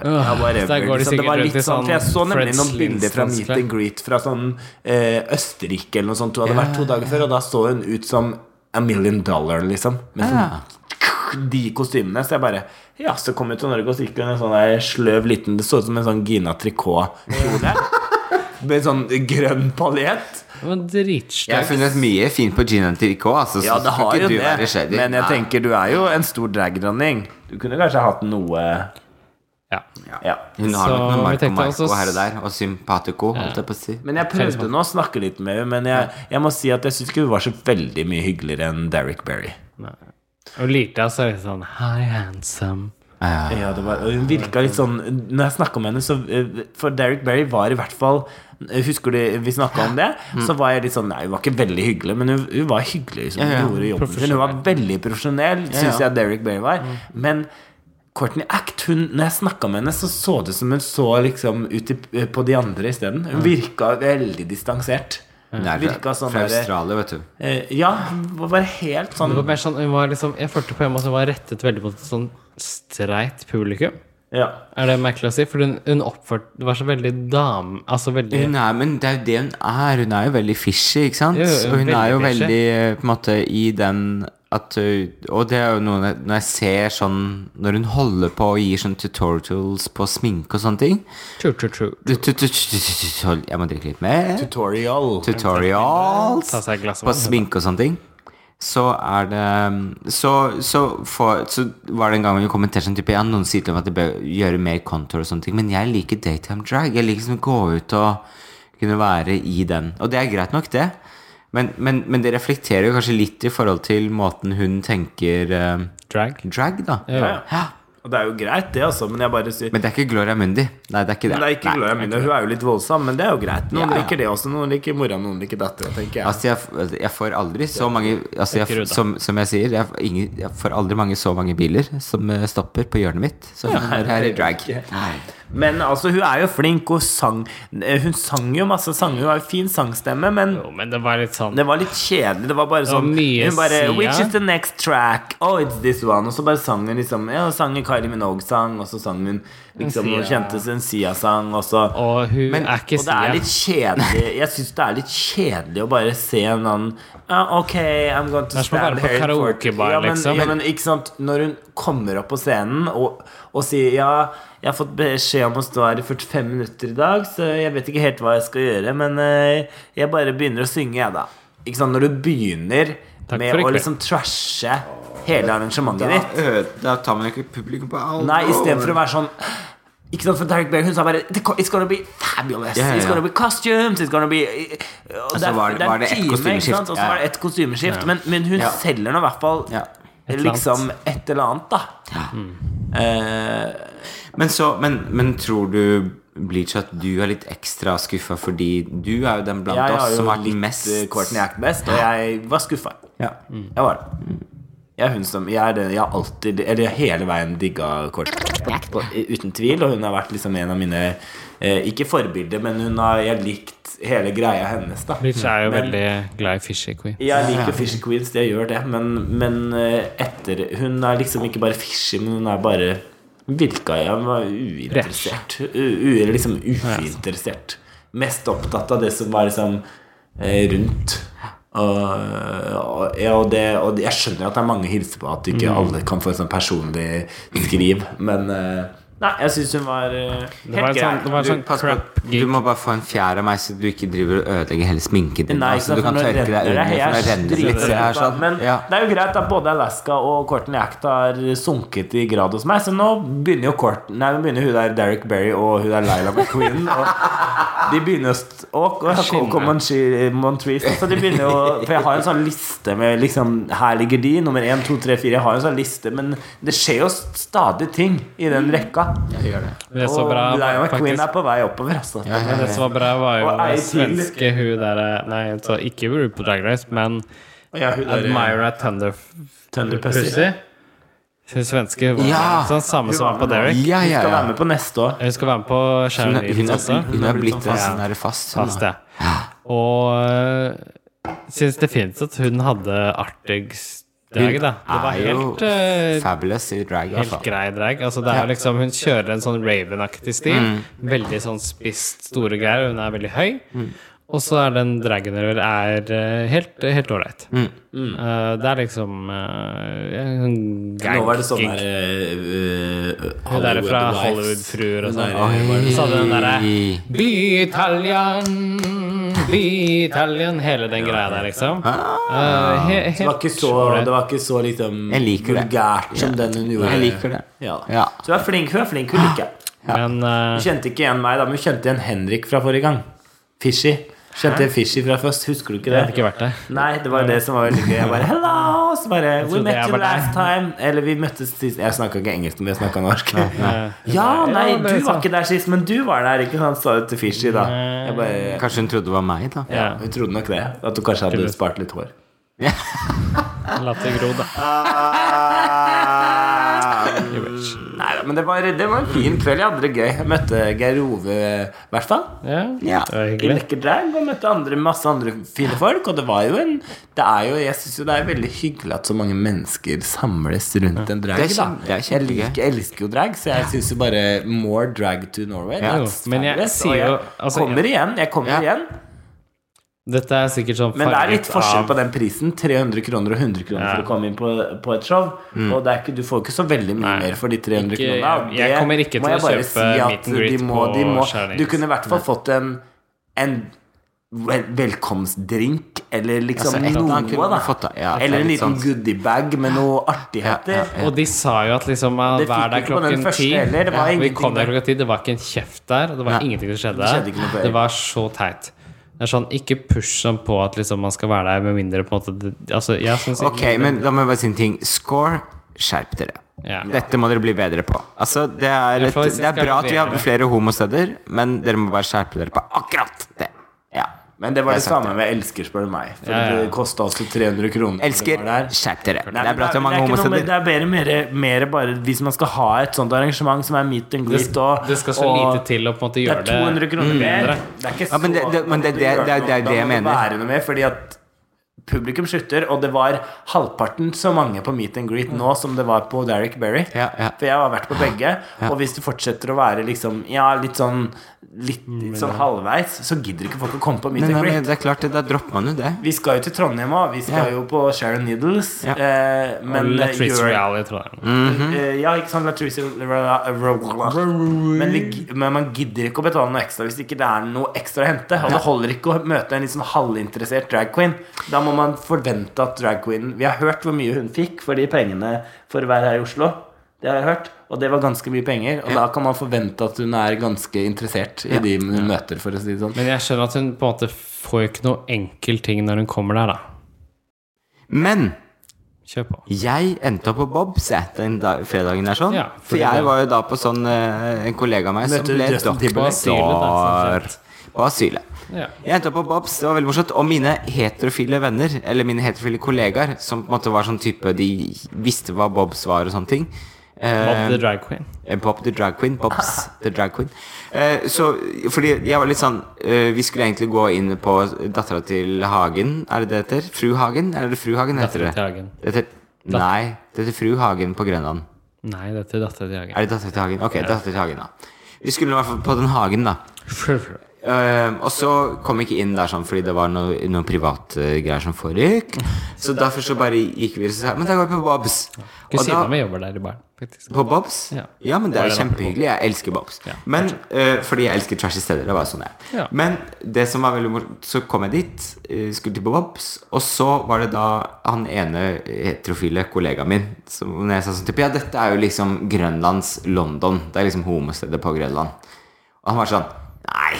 S1: uh, ja, whatever.
S3: der går de
S1: liksom. det
S3: sikkert
S1: var
S3: rundt
S1: litt
S3: i sånn
S1: sånn, for Jeg så nemlig
S3: Fred
S1: noen bilder fra Meet
S3: Flintstones-klær.
S1: and Greet fra sånn eh, Østerrike eller noe sånt. Hun hadde vært to dager før, og da så hun ut som A Million Dollar, liksom. Med sånn, de kostymene. Så jeg bare Ja, så kom hun til Norge, og så gikk hun i en sånn der sløv liten Det så ut som en sånn Gina Tricot-kjole. med sånn grønn paljett.
S3: Hun var
S2: Jeg har
S3: dritstygg.
S2: funnet mye fint på Gina Tricot, altså, så
S1: Ja, det
S2: skal
S1: har
S2: ikke
S1: jo
S2: du være
S1: det,
S2: shady.
S1: men jeg
S2: Nei.
S1: tenker du er jo en stor dragdronning. Du kunne kanskje hatt noe
S3: Ja.
S1: Ja.
S2: Hun har
S3: Så
S2: nok noe
S3: vi
S2: Marco
S3: tenkte
S2: Marco
S3: også-
S2: her og der, og Sympatico, holdt jeg på å si.
S1: Men jeg prøvde nå å snakke litt med henne, men jeg, jeg må si at jeg syns ikke hun var så veldig mye hyggeligere enn Derek Berry.
S3: Og lirte av seg litt sånn Hi, handsome.
S2: Ja.
S1: Ja, det var, og hun virka litt sånn Når jeg snakka med henne, så eh, For Derek Berry var i hvert fall eh, Husker du vi snakka om det? Så var jeg litt sånn Nei, hun var ikke veldig hyggelig, men hun, hun var hyggelig. Liksom. Hun
S2: Ja, ja.
S1: gjorde jobben sin. Hun var veldig profesjonell, syns jeg Derek Berry var. Men Courtney Act, hun, når jeg snakka med henne, så så det som hun så liksom ut i, på de andre isteden. Hun virka veldig distansert.
S2: Hun er fra,
S1: Virka sånn
S2: fra
S1: der-
S2: Australia, vet du.
S1: Eh, ja, hun var bare helt sånn
S3: Det var mer sånn, hun var liksom, jeg følte på en måte hun var rettet veldig mot et sånn streit publikum.
S1: ja.
S3: Er det merkelig å si? For hun, hun oppførte Det var så veldig dame... Altså veldig
S2: Hun er, men det er jo det hun er. Hun er jo veldig fishy, ikke sant?
S3: Jo, jo,
S2: og hun er jo
S3: veldig fishy.
S2: veldig eh, på en måte i den at hun- Og det er jo noe jeg- når jeg ser sånn Når hun holder på og gir sånn tutorials på sminke og sånne ting
S3: true, true, true.
S2: Du- tu- tu- tu- tu- tu- tu- hold- Jeg må drikke litt mer.
S1: Tutorial.
S2: Tutorials
S3: Ta seg et glass
S2: på
S3: vann.
S2: sminke og sånne ting. Så er det um, Så, så, får- så var det en gang hun kommenterte sånn type Ja, noen sier til meg at de bør gjøre mer contour og sånne ting, men jeg liker daytime drag. Jeg liker liksom å gå ut og kunne være i den. Og det er greit nok, det. Men, men, men det reflekterer jo kanskje litt i forhold til måten hun tenker eh,
S3: Drag.
S2: drag, da.
S1: Ja. Og det er jo greit, det, altså, men jeg bare sier
S2: Men det er ikke Gloria Mundi. Nei, det er ikke det.
S1: Nei, ikke
S2: Nei.
S1: Gloria Mundi. Hun er jo litt voldsom, men det er jo greit. Noen
S2: Ja, ja.
S1: liker det også. Noen liker mora, noen liker dattera, tenker jeg.
S2: Altså, jeg, jeg får aldri så mange altså, jeg, som, som jeg sier, jeg, får ingen, jeg får aldri mange så mange biler som eh, stopper på hjørnet mitt. Så her er det drag.
S1: Men altså, hun er jo flink. Hun sang eh, Hun sang jo masse sanger. Hun har jo fin sangstemme, men
S3: Jo, men det var litt sånn
S1: det var litt kjedelig. Det var bare
S3: var
S1: sånn
S3: mye
S1: Hun bare
S3: Sia.
S1: Which is the next track? Oh, it's this one. Og så bare sang hun liksom Ja, sang en Kylie Minogue-sang, og så sang hun liksom Hun
S3: Sia.
S1: kjente en Sia-sang, og så
S3: Og hun
S2: Men-
S3: er ikke
S1: Og det er
S3: Sia.
S1: litt kjedelig Jeg synes det er litt kjedelig å bare se en annen «Ah, Ok, I'm going to
S3: er som å
S1: stand
S3: være på
S1: here in court».
S3: karaokebar,
S1: ja, men,
S3: liksom.
S1: ja, men ikke sant Når hun kommer opp på scenen Og, og sier Ja, jeg har fått beskjed om å stå her i 45 minutter i dag Så jeg vet ikke helt hva jeg skal gjøre Men eh, jeg bare begynner å synge jeg da Ikke sant, når du begynner
S3: Takk for i
S1: Med å
S3: kveld.
S1: liksom trashe Hele arrangementet ditt
S2: Da tar man ikke publikum på alvor.
S1: Nei, i stedet for å være sånn Ikke sant, for Derek Blair, hun sa bare "The co- It's gonna be fabulous.
S2: Ja, ja,
S1: It's
S2: ja.
S1: gonna be costumes. It's gonna be Og
S2: Altså, var det- var det ett kostymeskift?
S1: Og så
S2: Ja.
S1: var det ett kostymeskift. Men, men hun
S2: Ja.
S1: selger nå i hvert fall
S2: Ja.
S3: Et eller
S1: liksom et eller annet, da. Mm. Eh,
S2: Men, så, men, men tror du Bleach at du er litt ekstra skuffa fordi du er jo den blant
S1: jeg har
S2: oss
S1: jo
S2: som har
S1: litt
S2: den mest
S1: eh, Courtney Act best, og jeg Mm. var skuffa.
S2: Ja.
S1: Jeg var det. Jeg er hun som Jeg, er, det- jeg har alltid Eller hele veien digga Courtney Act, på- uten tvil. Og hun har vært liksom en av mine eh, Ikke forbilder, men hun har jeg likt hele greia hennes, da.
S3: Bleach er jo
S1: Men-
S3: veldig glad i Fishy Queen.
S1: Jeg liker Fishy Queens, det gjør det, men, men eh, etter Hun er liksom ikke bare fishy, men hun er bare Virka jeg var uinteressert. U u liksom uinteressert. Mest opptatt av det som var liksom eh, rundt. Og, og, ja, og, det, og jeg skjønner at det er mange hilser på at ikke alle kan få et sånn personlig skriv, men eh, Nei, jeg syns hun var eh,
S3: Det var en
S1: helt
S3: sånn, det
S1: grei.
S3: var en
S2: Du,
S3: sånn
S2: pass på,
S3: crap
S2: du
S3: gig.
S2: må bare få en fjær av meg, så du ikke driver og ødelegger hele sminken din.
S1: Nei,
S2: altså,
S1: ikke sant,
S2: du kan
S1: for nå
S2: tørke deg
S1: renner
S2: under,
S1: det.
S2: for nå
S1: Jeg
S2: renner det
S1: er
S2: litt. Så jeg er
S1: sliten,
S2: sånn,
S1: Men
S2: ja.
S1: det er jo greit at både Alaska og Courtney Act har sunket i grad hos meg, så nå begynner jo Courtney Nei, nå begynner hun der Derek Berry og hun der Lila McQueen og De begynner å st- Og, og, og, og Montre- Montrese Så de begynner jo For jeg har en sånn liste med liksom Her ligger de, nummer 1, 2, 3, 4 Jeg har en sånn liste, men det skjer jo stadig ting i den rekka.
S3: Det er så
S1: Og
S3: bra,
S1: Lila McQueen
S3: faktisk.
S1: er på vei oppover, altså.
S3: Men det som var bra, var jo
S1: Og ei
S3: det
S1: til.
S3: svenske hun der Nei, altså, ikke RuPaul Drag Race, men
S1: Ja, hun der-
S3: Admira Thunderpussy.
S1: Thunderpussy.
S3: Hun svenske hun var
S2: Ja!
S3: sånn samme som var på Derek.
S2: Ja,
S1: Hun
S2: ja,
S1: skal
S2: ja.
S1: være med på neste år.
S3: Hun skal være med på
S2: Hun
S3: Sharon
S2: er-
S3: Needles
S2: Hun
S3: også.
S2: er- hun er blitt en
S3: Ja.
S2: sånn der fast. hun,
S3: Fast,
S2: da.
S3: ja. Og øh, syns definitivt at hun hadde artigst drag, da. Det var
S2: er jo
S3: helt øh,
S2: Fabulous i drag, i hvert
S3: Helt
S2: fall.
S3: grei drag. Altså, det er jo liksom, hun kjører en sånn Raven-aktig stil. Veldig sånn spist, store greier. Hun er veldig høy. Og så er den dragen hun gjør, er eh, helt helt ålreit.
S1: Mm.
S3: Eh, det er liksom eh, en gang,
S1: Nå var det sånn
S3: gig.
S1: der eh,
S3: Hun der er fra
S1: Wives.
S3: Hollywood-fruer og sånn.
S1: Hun
S2: Oi.
S3: Så hadde den derre Be Italian, be Italian Hele den greia der, liksom. Eh, he,
S1: Det var ikke
S3: helt
S1: så,
S3: ålreit.
S1: det var ikke så liksom
S2: Jeg liker det.
S1: vulgært som den hun gjorde.
S2: Jeg liker det.
S1: Ja.
S2: Ja. Ah.
S1: Så hun er flink, hun er flink, hun liker jeg.
S3: Men eh,
S1: Hun kjente ikke igjen meg, da, men hun kjente igjen Henrik fra forrige gang. Fishy. Kjente igjen Fishy fra først, husker du ikke
S3: jeg hadde
S1: det?
S3: ikke vært der.
S1: Nei, det var det som var veldig gøy. Jeg bare hello! Så bare We
S3: trodde
S1: met
S3: jeg
S1: you
S3: var der.
S1: last time. Eller vi møttes sist Jeg snakka ikke engelsk, men jeg snakka norsk. Ja, nei,
S3: Ja, det
S1: du
S3: er
S1: var
S3: sant.
S1: ikke der sist, men du var der, ikke sant? Sa du til Fishy, da. Jeg bare
S2: Kanskje hun trodde det var meg, da.
S3: Ja,
S1: Ja, Hun trodde nok det. At du kanskje hadde spart litt hår.
S3: La det gro, da.
S1: Nei, men det var, det var en fin kveld. Jeg hadde det gøy. Jeg møtte Geir Ove, eh, i hvert fall.
S3: Ja,
S2: Ja.
S3: det var
S1: I
S3: hyggelig.
S1: Lekker Drag og møtte andre, masse andre fine folk. Og det var jo en Det er jo Jeg syns jo det er veldig hyggelig at så mange mennesker samles rundt en drag.
S2: Det er
S1: da
S2: kjem- det er
S1: Jeg
S2: kjempegøy.
S1: liker, elsker jo drag, så jeg syns jo bare More drag to Norway.
S3: jo,
S1: that's
S3: men jeg
S1: fabulous.
S3: sier
S1: Og
S3: jo- altså,
S1: jeg kommer igjen. Jeg kommer
S2: Ja.
S1: igjen.
S3: Dette er sikkert sånn
S1: Men det er
S3: farget
S1: litt forskjell
S3: av-
S1: på den prisen. 300 kroner og 100 kroner
S3: Ja.
S1: for å komme inn på, på et show. Og det er ikke, du får ikke så veldig mye
S3: Nei.
S1: mer for de 300
S3: Ikke-
S1: kronene. og
S3: jeg
S1: det
S3: kommer ikke
S1: må
S3: til
S1: jeg
S3: å
S1: bare
S3: kjøpe meet and
S1: de
S3: greet
S1: må- de
S3: på
S1: må-
S3: Skjærnings.
S1: Du kunne i hvert fall fått en, en vel, velkomstdrink eller liksom
S2: Altså, et eller annet
S1: noe, da.
S2: kunne man fått, da. Ja, det er
S1: eller en
S2: litt
S1: liten
S2: sånn.
S1: goodiebag med noe artigheter.
S2: Ja, ja, ja.
S3: Og de sa jo at liksom ah,
S1: Det fikk
S3: Vær der
S1: vi ikke på den
S3: klokken
S1: første
S3: ti.
S1: heller, det var
S3: Ja, vi
S1: ingenting
S3: kom der
S1: der.
S3: klokka ti, det var ikke en kjeft der. og Det var
S2: Nei.
S3: ingenting som skjedde.
S1: Det skjedde ikke noe på
S3: det var så teit. Det er sånn, Ikke push sånn på at liksom man skal være der med mindre på en måte det- altså, jeg synes ikke-
S2: Ok, men da må jeg bare si en ting. Score, skjerp dere.
S3: Ja.
S2: Dette må dere bli bedre på. Altså, det er,
S3: Jeg
S2: et,
S3: får si
S2: det
S3: skal
S2: er bra at vi har
S3: levere.
S2: flere homosteder, men dere må bare skjerpe dere på akkurat det. Ja.
S1: Men det var
S2: Jeg
S1: det
S2: har sagt
S1: samme med Elsker, spør du meg. For
S3: Ja, ja.
S1: det kosta også 300 kroner.
S2: Elsker,
S1: Det var der.
S2: skjerp dere.
S1: Nei,
S2: Det er bra at vi har mange
S1: men det er ikke noe med-
S2: homosteder.
S1: Det er bedre, mere, mere bare hvis man skal ha et sånt arrangement som er meet and greet og
S3: Det skal så
S1: og-
S3: lite til å på en måte
S1: Det er
S3: gjøre
S1: 200 kroner mer.
S3: bedre.
S1: Det er ikke
S2: Ja, men det- det- men det- det- det- det er- det er det jeg
S1: Da må
S2: mener.
S1: det være noe mer, fordi at publikum slutter, og det var halvparten så mange på meet and greet nå som det var på Derek Berry.
S2: Ja, ja.
S1: For jeg har vært på begge, og hvis du fortsetter å være liksom, ja, litt sånn litt, litt sånn halvveis, så gidder ikke folk å komme på meet and
S2: Nei, nei,
S1: greet.
S2: Mm, men det er klart, det- da dropper man jo det.
S1: Vi skal jo til Trondheim òg. Vi skal
S2: Ja.
S1: jo på Sharon Needles.
S2: Ja.
S1: Eh, men
S3: Latrice
S1: gjør-
S3: Reality, tror jeg.
S2: Mhm.
S1: Eh, Ja, ikke sant? Latrice men, lig- men man gidder ikke å betale noe ekstra hvis ikke det er noe ekstra å hente. Og det holder ikke å møte en litt sånn halvinteressert drag queen. Da må man forvente at drag queen Vi har hørt hvor mye hun fikk for de pengene for å være her i Oslo. Det har jeg hørt, og det var ganske mye penger. Og da kan man forvente at hun er ganske interessert i de hun møter, for å si det sånn.
S3: Men jeg skjønner at hun på en måte får jo ikke noe enkel ting når hun kommer der, da.
S2: Men
S3: Kjør på.
S2: Jeg endte opp på Bobs jeg, den da, fredagen der sånn.
S3: Ja,
S2: for
S3: fordi det-
S2: jeg var jo da på sånn eh, En kollega av meg som
S1: Møtte
S2: ble
S1: Justin
S2: doktor
S3: Timberlake. På asylet, da,
S2: på asylet.
S3: Ja.
S2: Jeg endte opp på Bobs, det var veldig morsomt. Og mine heterofile venner, eller mine heterofile kollegaer, som på en måte var sånn type De visste hva Bobs var og sånne ting.
S3: Bob
S2: Eh,
S3: the drag queen.
S2: Eh, Bob the Drag Queen. Bobs the Drag Queen. Eh, så, fordi jeg var litt sånn eh, Vi skulle egentlig gå inn på dattera til Hagen, er det det heter? Fru Hagen? Er det Fru Hagen heter det?
S3: Datteren til Hagen.
S2: det heter, nei, det heter Fru Hagen på Grønland.
S3: Nei, dette er dattera til Hagen.
S2: Er det dattera til Hagen? Ok, dattera til Hagen, da. Vi skulle i hvert fall på den Hagen, da. Eh, og så kom jeg ikke inn der sånn fordi det var noe, noen private greier som foregikk. Så derfor så bare gikk vi og sa Men da går vi på Bobs. Og da-
S3: Kusina mi jobber der i baren, faktisk.
S2: på Bobs?
S3: Ja.
S2: Ja, men det
S3: Var
S2: er
S3: det da?
S2: kjempehyggelig. Jeg elsker Bobs.
S3: Ja,
S2: men, eh, fordi jeg elsker trashy steder. Det var sånn jeg.
S3: Ja.
S2: Men det som var veldig morsomt, så kom jeg dit, eh, skulle til Bobs, og så var det da han ene heterofile kollegaen min som når jeg sa sånn type, Ja, dette er jo liksom Grønlands London. Det er liksom homostedet på Grønland. Og han var sånn Nei,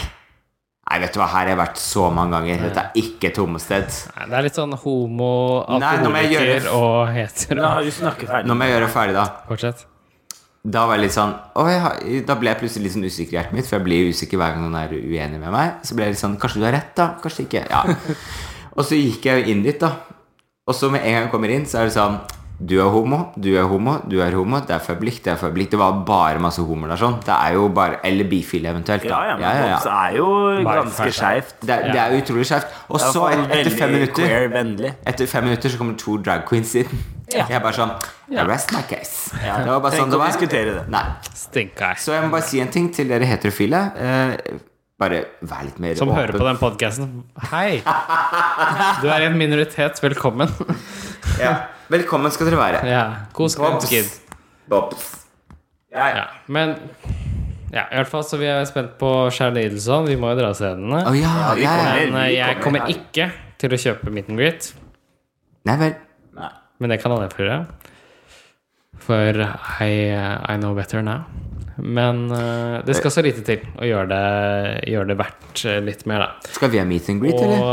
S2: nei vet du hva, her har jeg vært så mange ganger. Dette er ikke et homosted.
S3: Nei, det er litt sånn homo,
S2: Nei, nå må jeg gjøre-
S3: alkoholiker og hetero.
S1: Ja, du snakker ferdig.
S2: Nå må jeg gjøre ferdig, da.
S3: Fortsett.
S2: da var jeg litt sånn «Å, jeg har, Da ble jeg plutselig litt sånn usikker i hjertet mitt, for jeg blir usikker hver gang noen er uenig med meg. Så ble jeg litt sånn Kanskje du har rett, da? Kanskje ikke? Ja. Og så gikk jeg jo inn dit, da. Og så med en gang jeg kommer inn, så er det sånn Du er homo, du er homo, du er homo. Det er fablikk, det er fablikk. Det var bare masse homoer der, sånn. Det er jo bare Eller bifile, eventuelt.
S1: Ja,
S2: Da.
S1: ja, men Bobs er jo ganske
S3: ferdig.
S1: skeivt.
S2: Det, er- det er jo utrolig skjevt. Og
S1: Det er i
S2: så,
S1: hvert fall
S2: et- etter fem
S1: veldig
S2: minutter
S1: Queer-vennlig.
S2: etter fem minutter så kommer to drag queens inn. Jeg er bare sånn I rest my case. Det var
S1: Trenger
S2: bare sånn det
S1: ikke å
S2: var.
S1: diskutere det.
S2: Nei.
S3: Stinker jeg.
S2: Så jeg må bare si en ting til dere heterofile. Eh, bare vær litt mer
S3: Som
S2: åpen.
S3: hører på den podcasten. Hei! Du er i en minoritet. Velkommen.
S2: Ja. Velkommen skal dere være.
S3: Ja, kos
S2: Bobs.
S3: kid.
S2: Bobs.
S3: Ja, men ja, i hvert fall så vi er spent på Charlie Idelson. Vi må jo dra scenene.
S2: Å ja,
S1: vi
S2: ja, ja.
S1: kommer.
S3: Men eh, jeg
S1: vi
S3: kommer
S1: her.
S3: ikke til å kjøpe meet and greet,
S2: Nei vel.
S1: Nei.
S3: men det kan alle få gjøre. For I, I know better now. Men eh, det skal så lite til å gjøre det, gjøre det verdt eh, litt mer, da.
S2: Skal vi ha meet and greet,
S3: Og
S2: eller?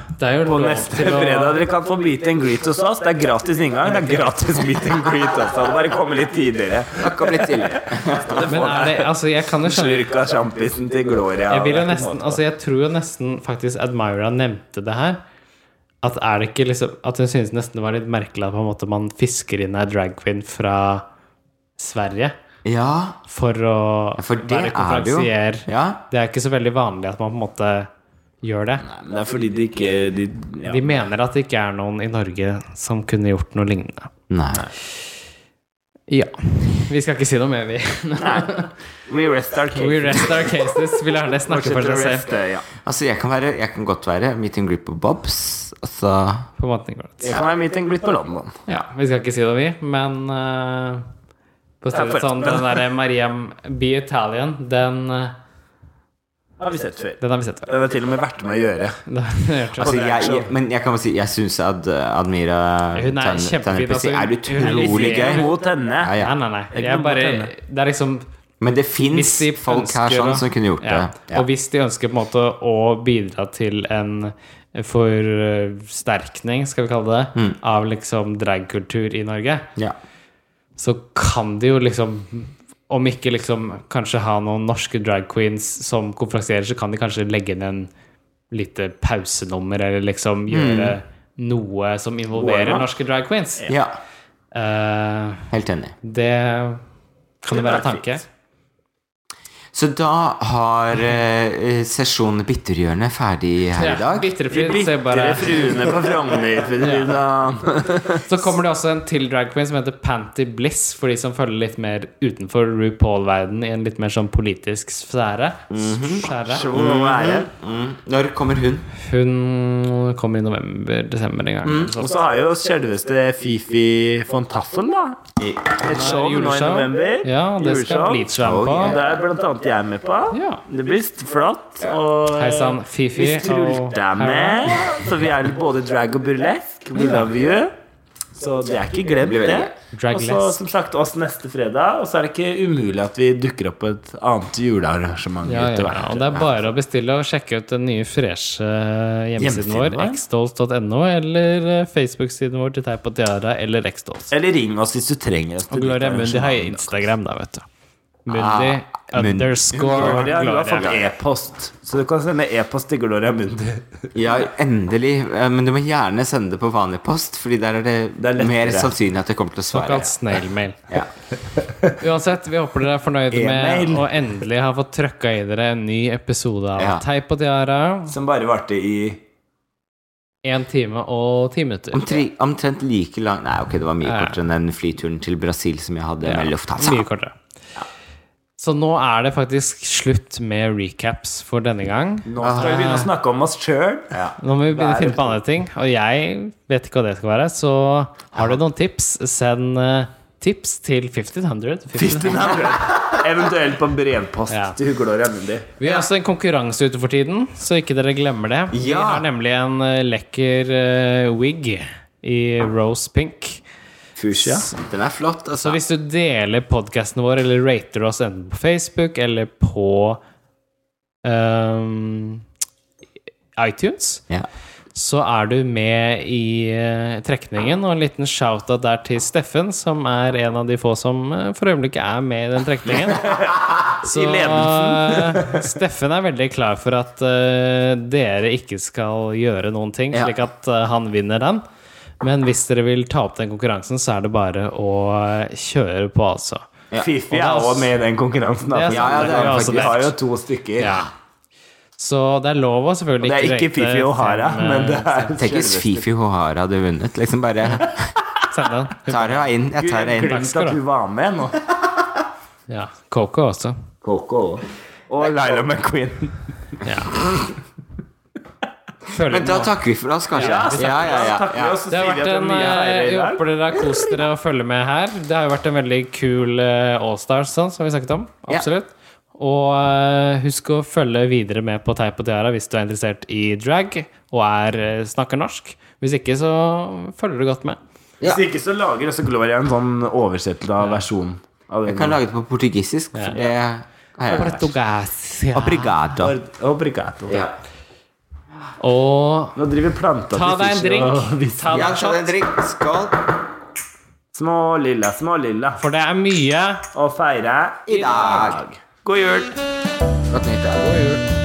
S3: eh, det er jo
S1: På
S3: lov
S1: neste
S3: til å-
S1: fredag dere kan få meet and greet hos oss. Det er gratis inngang. Det er gratis meet and greet også. Bare komme litt tidligere.
S2: Snakk om litt tidligere.
S3: Men er det, altså, jeg kan jo skjønne
S1: Slurka sjampisen til Gloria.
S3: Jeg vil jo
S1: Det er ikke
S3: nesten,
S1: måte på.
S3: altså jeg tror jo nesten faktisk Admira nevnte det her. At er det ikke liksom At hun synes nesten det var litt merkelig at på en måte man fisker inn ei drag queen fra Sverige
S2: Ja,
S3: for å
S2: for det
S3: være
S2: er det jo.
S3: konferansier.
S2: Ja.
S3: Det er ikke så veldig vanlig at man på en måte gjør det.
S1: Nei, men det er fordi de ikke de, ja.
S3: De mener at det ikke er noen i Norge som kunne gjort noe lignende.
S2: Nei.
S3: Ja. Vi skal ikke si noe mer, vi.
S1: We rest our case.
S3: We rest our cases. Vi lar det snakke for
S1: Fortsetter å
S3: seg selv.
S1: reste, ja.
S2: Altså, jeg kan, være, jeg kan godt være meet and greet på Bobs. Altså
S3: På en måte, Nicolai.
S1: Det kan være meet and greet på London.
S3: Ja, vi skal ikke si det, vi, men eh, på stedet
S1: for-
S3: sånn, den derre Maria Be Italian, den, eh,
S1: Har vi sett før.
S3: den har vi sett før.
S1: Den har til og med vært med å gjøre.
S3: Den har vi hørt
S2: Altså,
S3: om.
S2: jeg, jeg, men jeg kan bare si jeg syns at eh, Admira
S3: Hun er kjempefin, altså.
S2: Tannepesi er utrolig
S1: Ikke
S2: gøy.
S1: Mot henne.
S2: Ja, ja.
S3: Nei, nei, nei.
S1: Jeg
S3: Jeg
S1: kan
S3: bare,
S1: godt hende.
S3: det er liksom
S2: Men det fins
S3: hvis de
S2: folk
S3: ønsker
S2: her sånn
S3: å-
S2: som kunne gjort
S3: ja.
S2: det. Ja.
S3: Og hvis de ønsker på en måte å bidra til en forsterkning, skal vi kalle det,
S2: Mm.
S3: av liksom dragkultur i Norge,
S2: Ja.
S3: så kan de jo liksom Om ikke liksom kanskje ha noen norske drag queens som konferansierer, så kan de kanskje legge inn en lite pausenummer, eller liksom
S2: Mm.
S3: gjøre noe som involverer
S1: Warm-up.
S3: norske drag queens.
S2: ja.
S3: Eh,
S2: Helt enig.
S3: det kan jo
S1: Det
S3: være
S1: er
S3: en tanke.
S1: fint.
S2: Så da har eh, sesjonen Bitterhjørnet ferdig her i
S3: Mhm. Ja,
S2: dag.
S3: Bitrefrid, så, jeg
S1: Bitre
S3: bare,
S1: fruene på Frogner. for å si det sånn.
S3: så kommer det også en til drag queen som heter Panty Bliss, for de som følger litt mer utenfor RuPaul-verden i en litt mer sånn politisk sfære. Skjære.
S1: Så må det være.
S3: Mm-hmm.
S2: Mm. Når kommer hun?
S3: Hun kommer i november-desember en gang. Så
S1: Og så har jo selveste Fifi von Tassel da
S2: I-
S1: et show nå i
S3: juleshow.
S1: november.
S3: Ja, det skal
S1: Juleshow.
S3: Bleach være med på.
S2: Oh,
S1: Og Det er blant annet jeg med på.
S3: Ja.
S1: Det blir flott. Og eh,
S3: Hei sann, Fifi.
S1: Hvis Trulte
S3: og
S1: er
S3: Hera.
S1: med. Så vi er både drag og burlesk. We love you. Så det er ikke glemt,
S2: blir veldig
S1: det. Og så
S3: Dragless.
S1: som sagt oss neste fredag. Og så er det ikke umulig at vi dukker opp på et annet julearrangement
S3: Ja, ja, ja.
S1: utover her.
S3: Og det er bare å bestille og sjekke ut den nye freshe hjemmesiden
S1: Hjemmesiden
S3: vår,
S1: vår.
S3: xdolls.no, eller eh, Facebook-siden vår til Teip og Tiara eller xdolls.
S1: Eller ring oss hvis du trenger et
S3: Og Gloria
S1: nytt
S3: Mundi har
S1: arrangement.
S3: Instagram, da, vet du. Ah, Mundi underscore
S1: Gloria, du har fått
S3: Gloria.
S1: e-post, så du kan sende e-post til Gloria Mundi.
S2: Ja, endelig. Eh, Men du må gjerne sende det på vanlig post, Fordi der er det,
S1: Det er lettere.
S2: mer sannsynlig at jeg kommer til å svare.
S3: Såkalt snailmail.
S2: Ja.
S3: Uansett, vi håper dere er fornøyde med
S1: E-mail.
S3: å endelig ha fått trøkka i dere en ny episode av
S2: Ja.
S3: Teip og Tiara.
S1: Som bare varte i
S3: Én time og ti minutter.
S2: Omtri, omtrent like lang Nei, ok, det var mye
S3: Ja.
S2: kortere enn den flyturen til Brasil som jeg hadde med altså. Lufthansa.
S3: Mye kortere. Så nå er det faktisk slutt med recaps for denne gang.
S1: Nå skal vi
S3: Ah.
S1: begynne å snakke om oss sjøl.
S3: Nå må vi begynne å
S1: Det er-
S3: finne på andre ting, og jeg vet ikke hva det skal være. Så har du noen tips, send eh, tips til 1500. 1500.
S1: Eventuelt på en brevpost
S3: Ja.
S1: til Gloria Mundi.
S3: Vi har også en konkurranse ute for tiden, så ikke dere glemmer det. Vi
S2: Ja.
S3: har nemlig en eh, lekker eh, wig i rose pink.
S1: Fuchsia.
S2: Den er flott, altså.
S3: Så hvis du deler podkasten vår, eller rater oss enten på Facebook eller på ehm, iTunes,
S2: Ja.
S3: så er du med i eh, trekningen. Og en liten shout-out der til Steffen, som er en av de få som eh, for øyeblikket er med i den trekningen. Så eh, Steffen er veldig klar for at eh, dere ikke skal gjøre noen ting,
S2: Ja.
S3: slik at eh, han vinner den. Men hvis dere vil ta opp den konkurransen, så er det bare å eh, kjøre på, altså.
S2: Ja.
S3: Og
S1: Fifi
S3: det er
S1: er
S3: også-
S1: også med i den
S3: Det
S1: konkurransen. Da.
S3: er sant,
S2: Ja, ja, det er
S1: vi,
S2: det
S1: har-
S2: faktisk.
S1: vi har jo to stykker.
S3: Så det er lov å
S1: Og
S3: selvfølgelig
S1: Det er ikke
S3: rate
S1: Fifi O'Hara,
S3: fem, eh,
S1: men det er
S2: Tenk hvis Fifi Hohara hadde vunnet. Liksom bare
S3: send den.
S2: tar henne inn. Jeg tar henne inn.
S1: Glemt at du var med nå.
S3: Ja. Coco også.
S1: Og Laila McQueen.
S3: Ja. Føler
S2: Men
S3: vi
S2: da
S3: nå.
S2: takker vi for oss, kanskje.
S3: Ja,
S2: Ja, ja, ja.
S1: Takker vi
S2: ja.
S1: oss, så
S3: Det har
S1: sier
S3: vært
S1: vi at det er
S3: en,
S1: mye ære
S3: eh,
S1: i
S3: jeg
S1: dag.
S3: håper dere har kost dere å følge med her. Det har jo vært en veldig kul eh, Allstars, sånn, som vi snakket om.
S2: Ja.
S3: Absolutt. Og eh, husk å følge videre med på Teip og Tiara hvis du er interessert i drag og er, eh, snakker norsk. Hvis ikke, så følger du godt med.
S1: Hvis ikke så lager også Gloria en sånn oversettelse av versjon. Av den.
S2: Jeg kan lage det på portugisisk, for det har jeg lært. Obrigado.
S1: Obrigado.
S2: Ja.
S3: Og
S1: Nå driver planta
S3: ta
S1: til
S3: deg en
S1: Fischer og
S3: drink.
S1: viser-
S3: Ta deg
S2: Ja,
S3: en
S2: ta deg
S3: shot.
S2: en drink. Skål
S1: Små lilla, små lilla.
S3: For det er mye.
S1: Og feire
S2: i dag.
S1: God jul!
S2: Godt nyttår.
S3: God jul.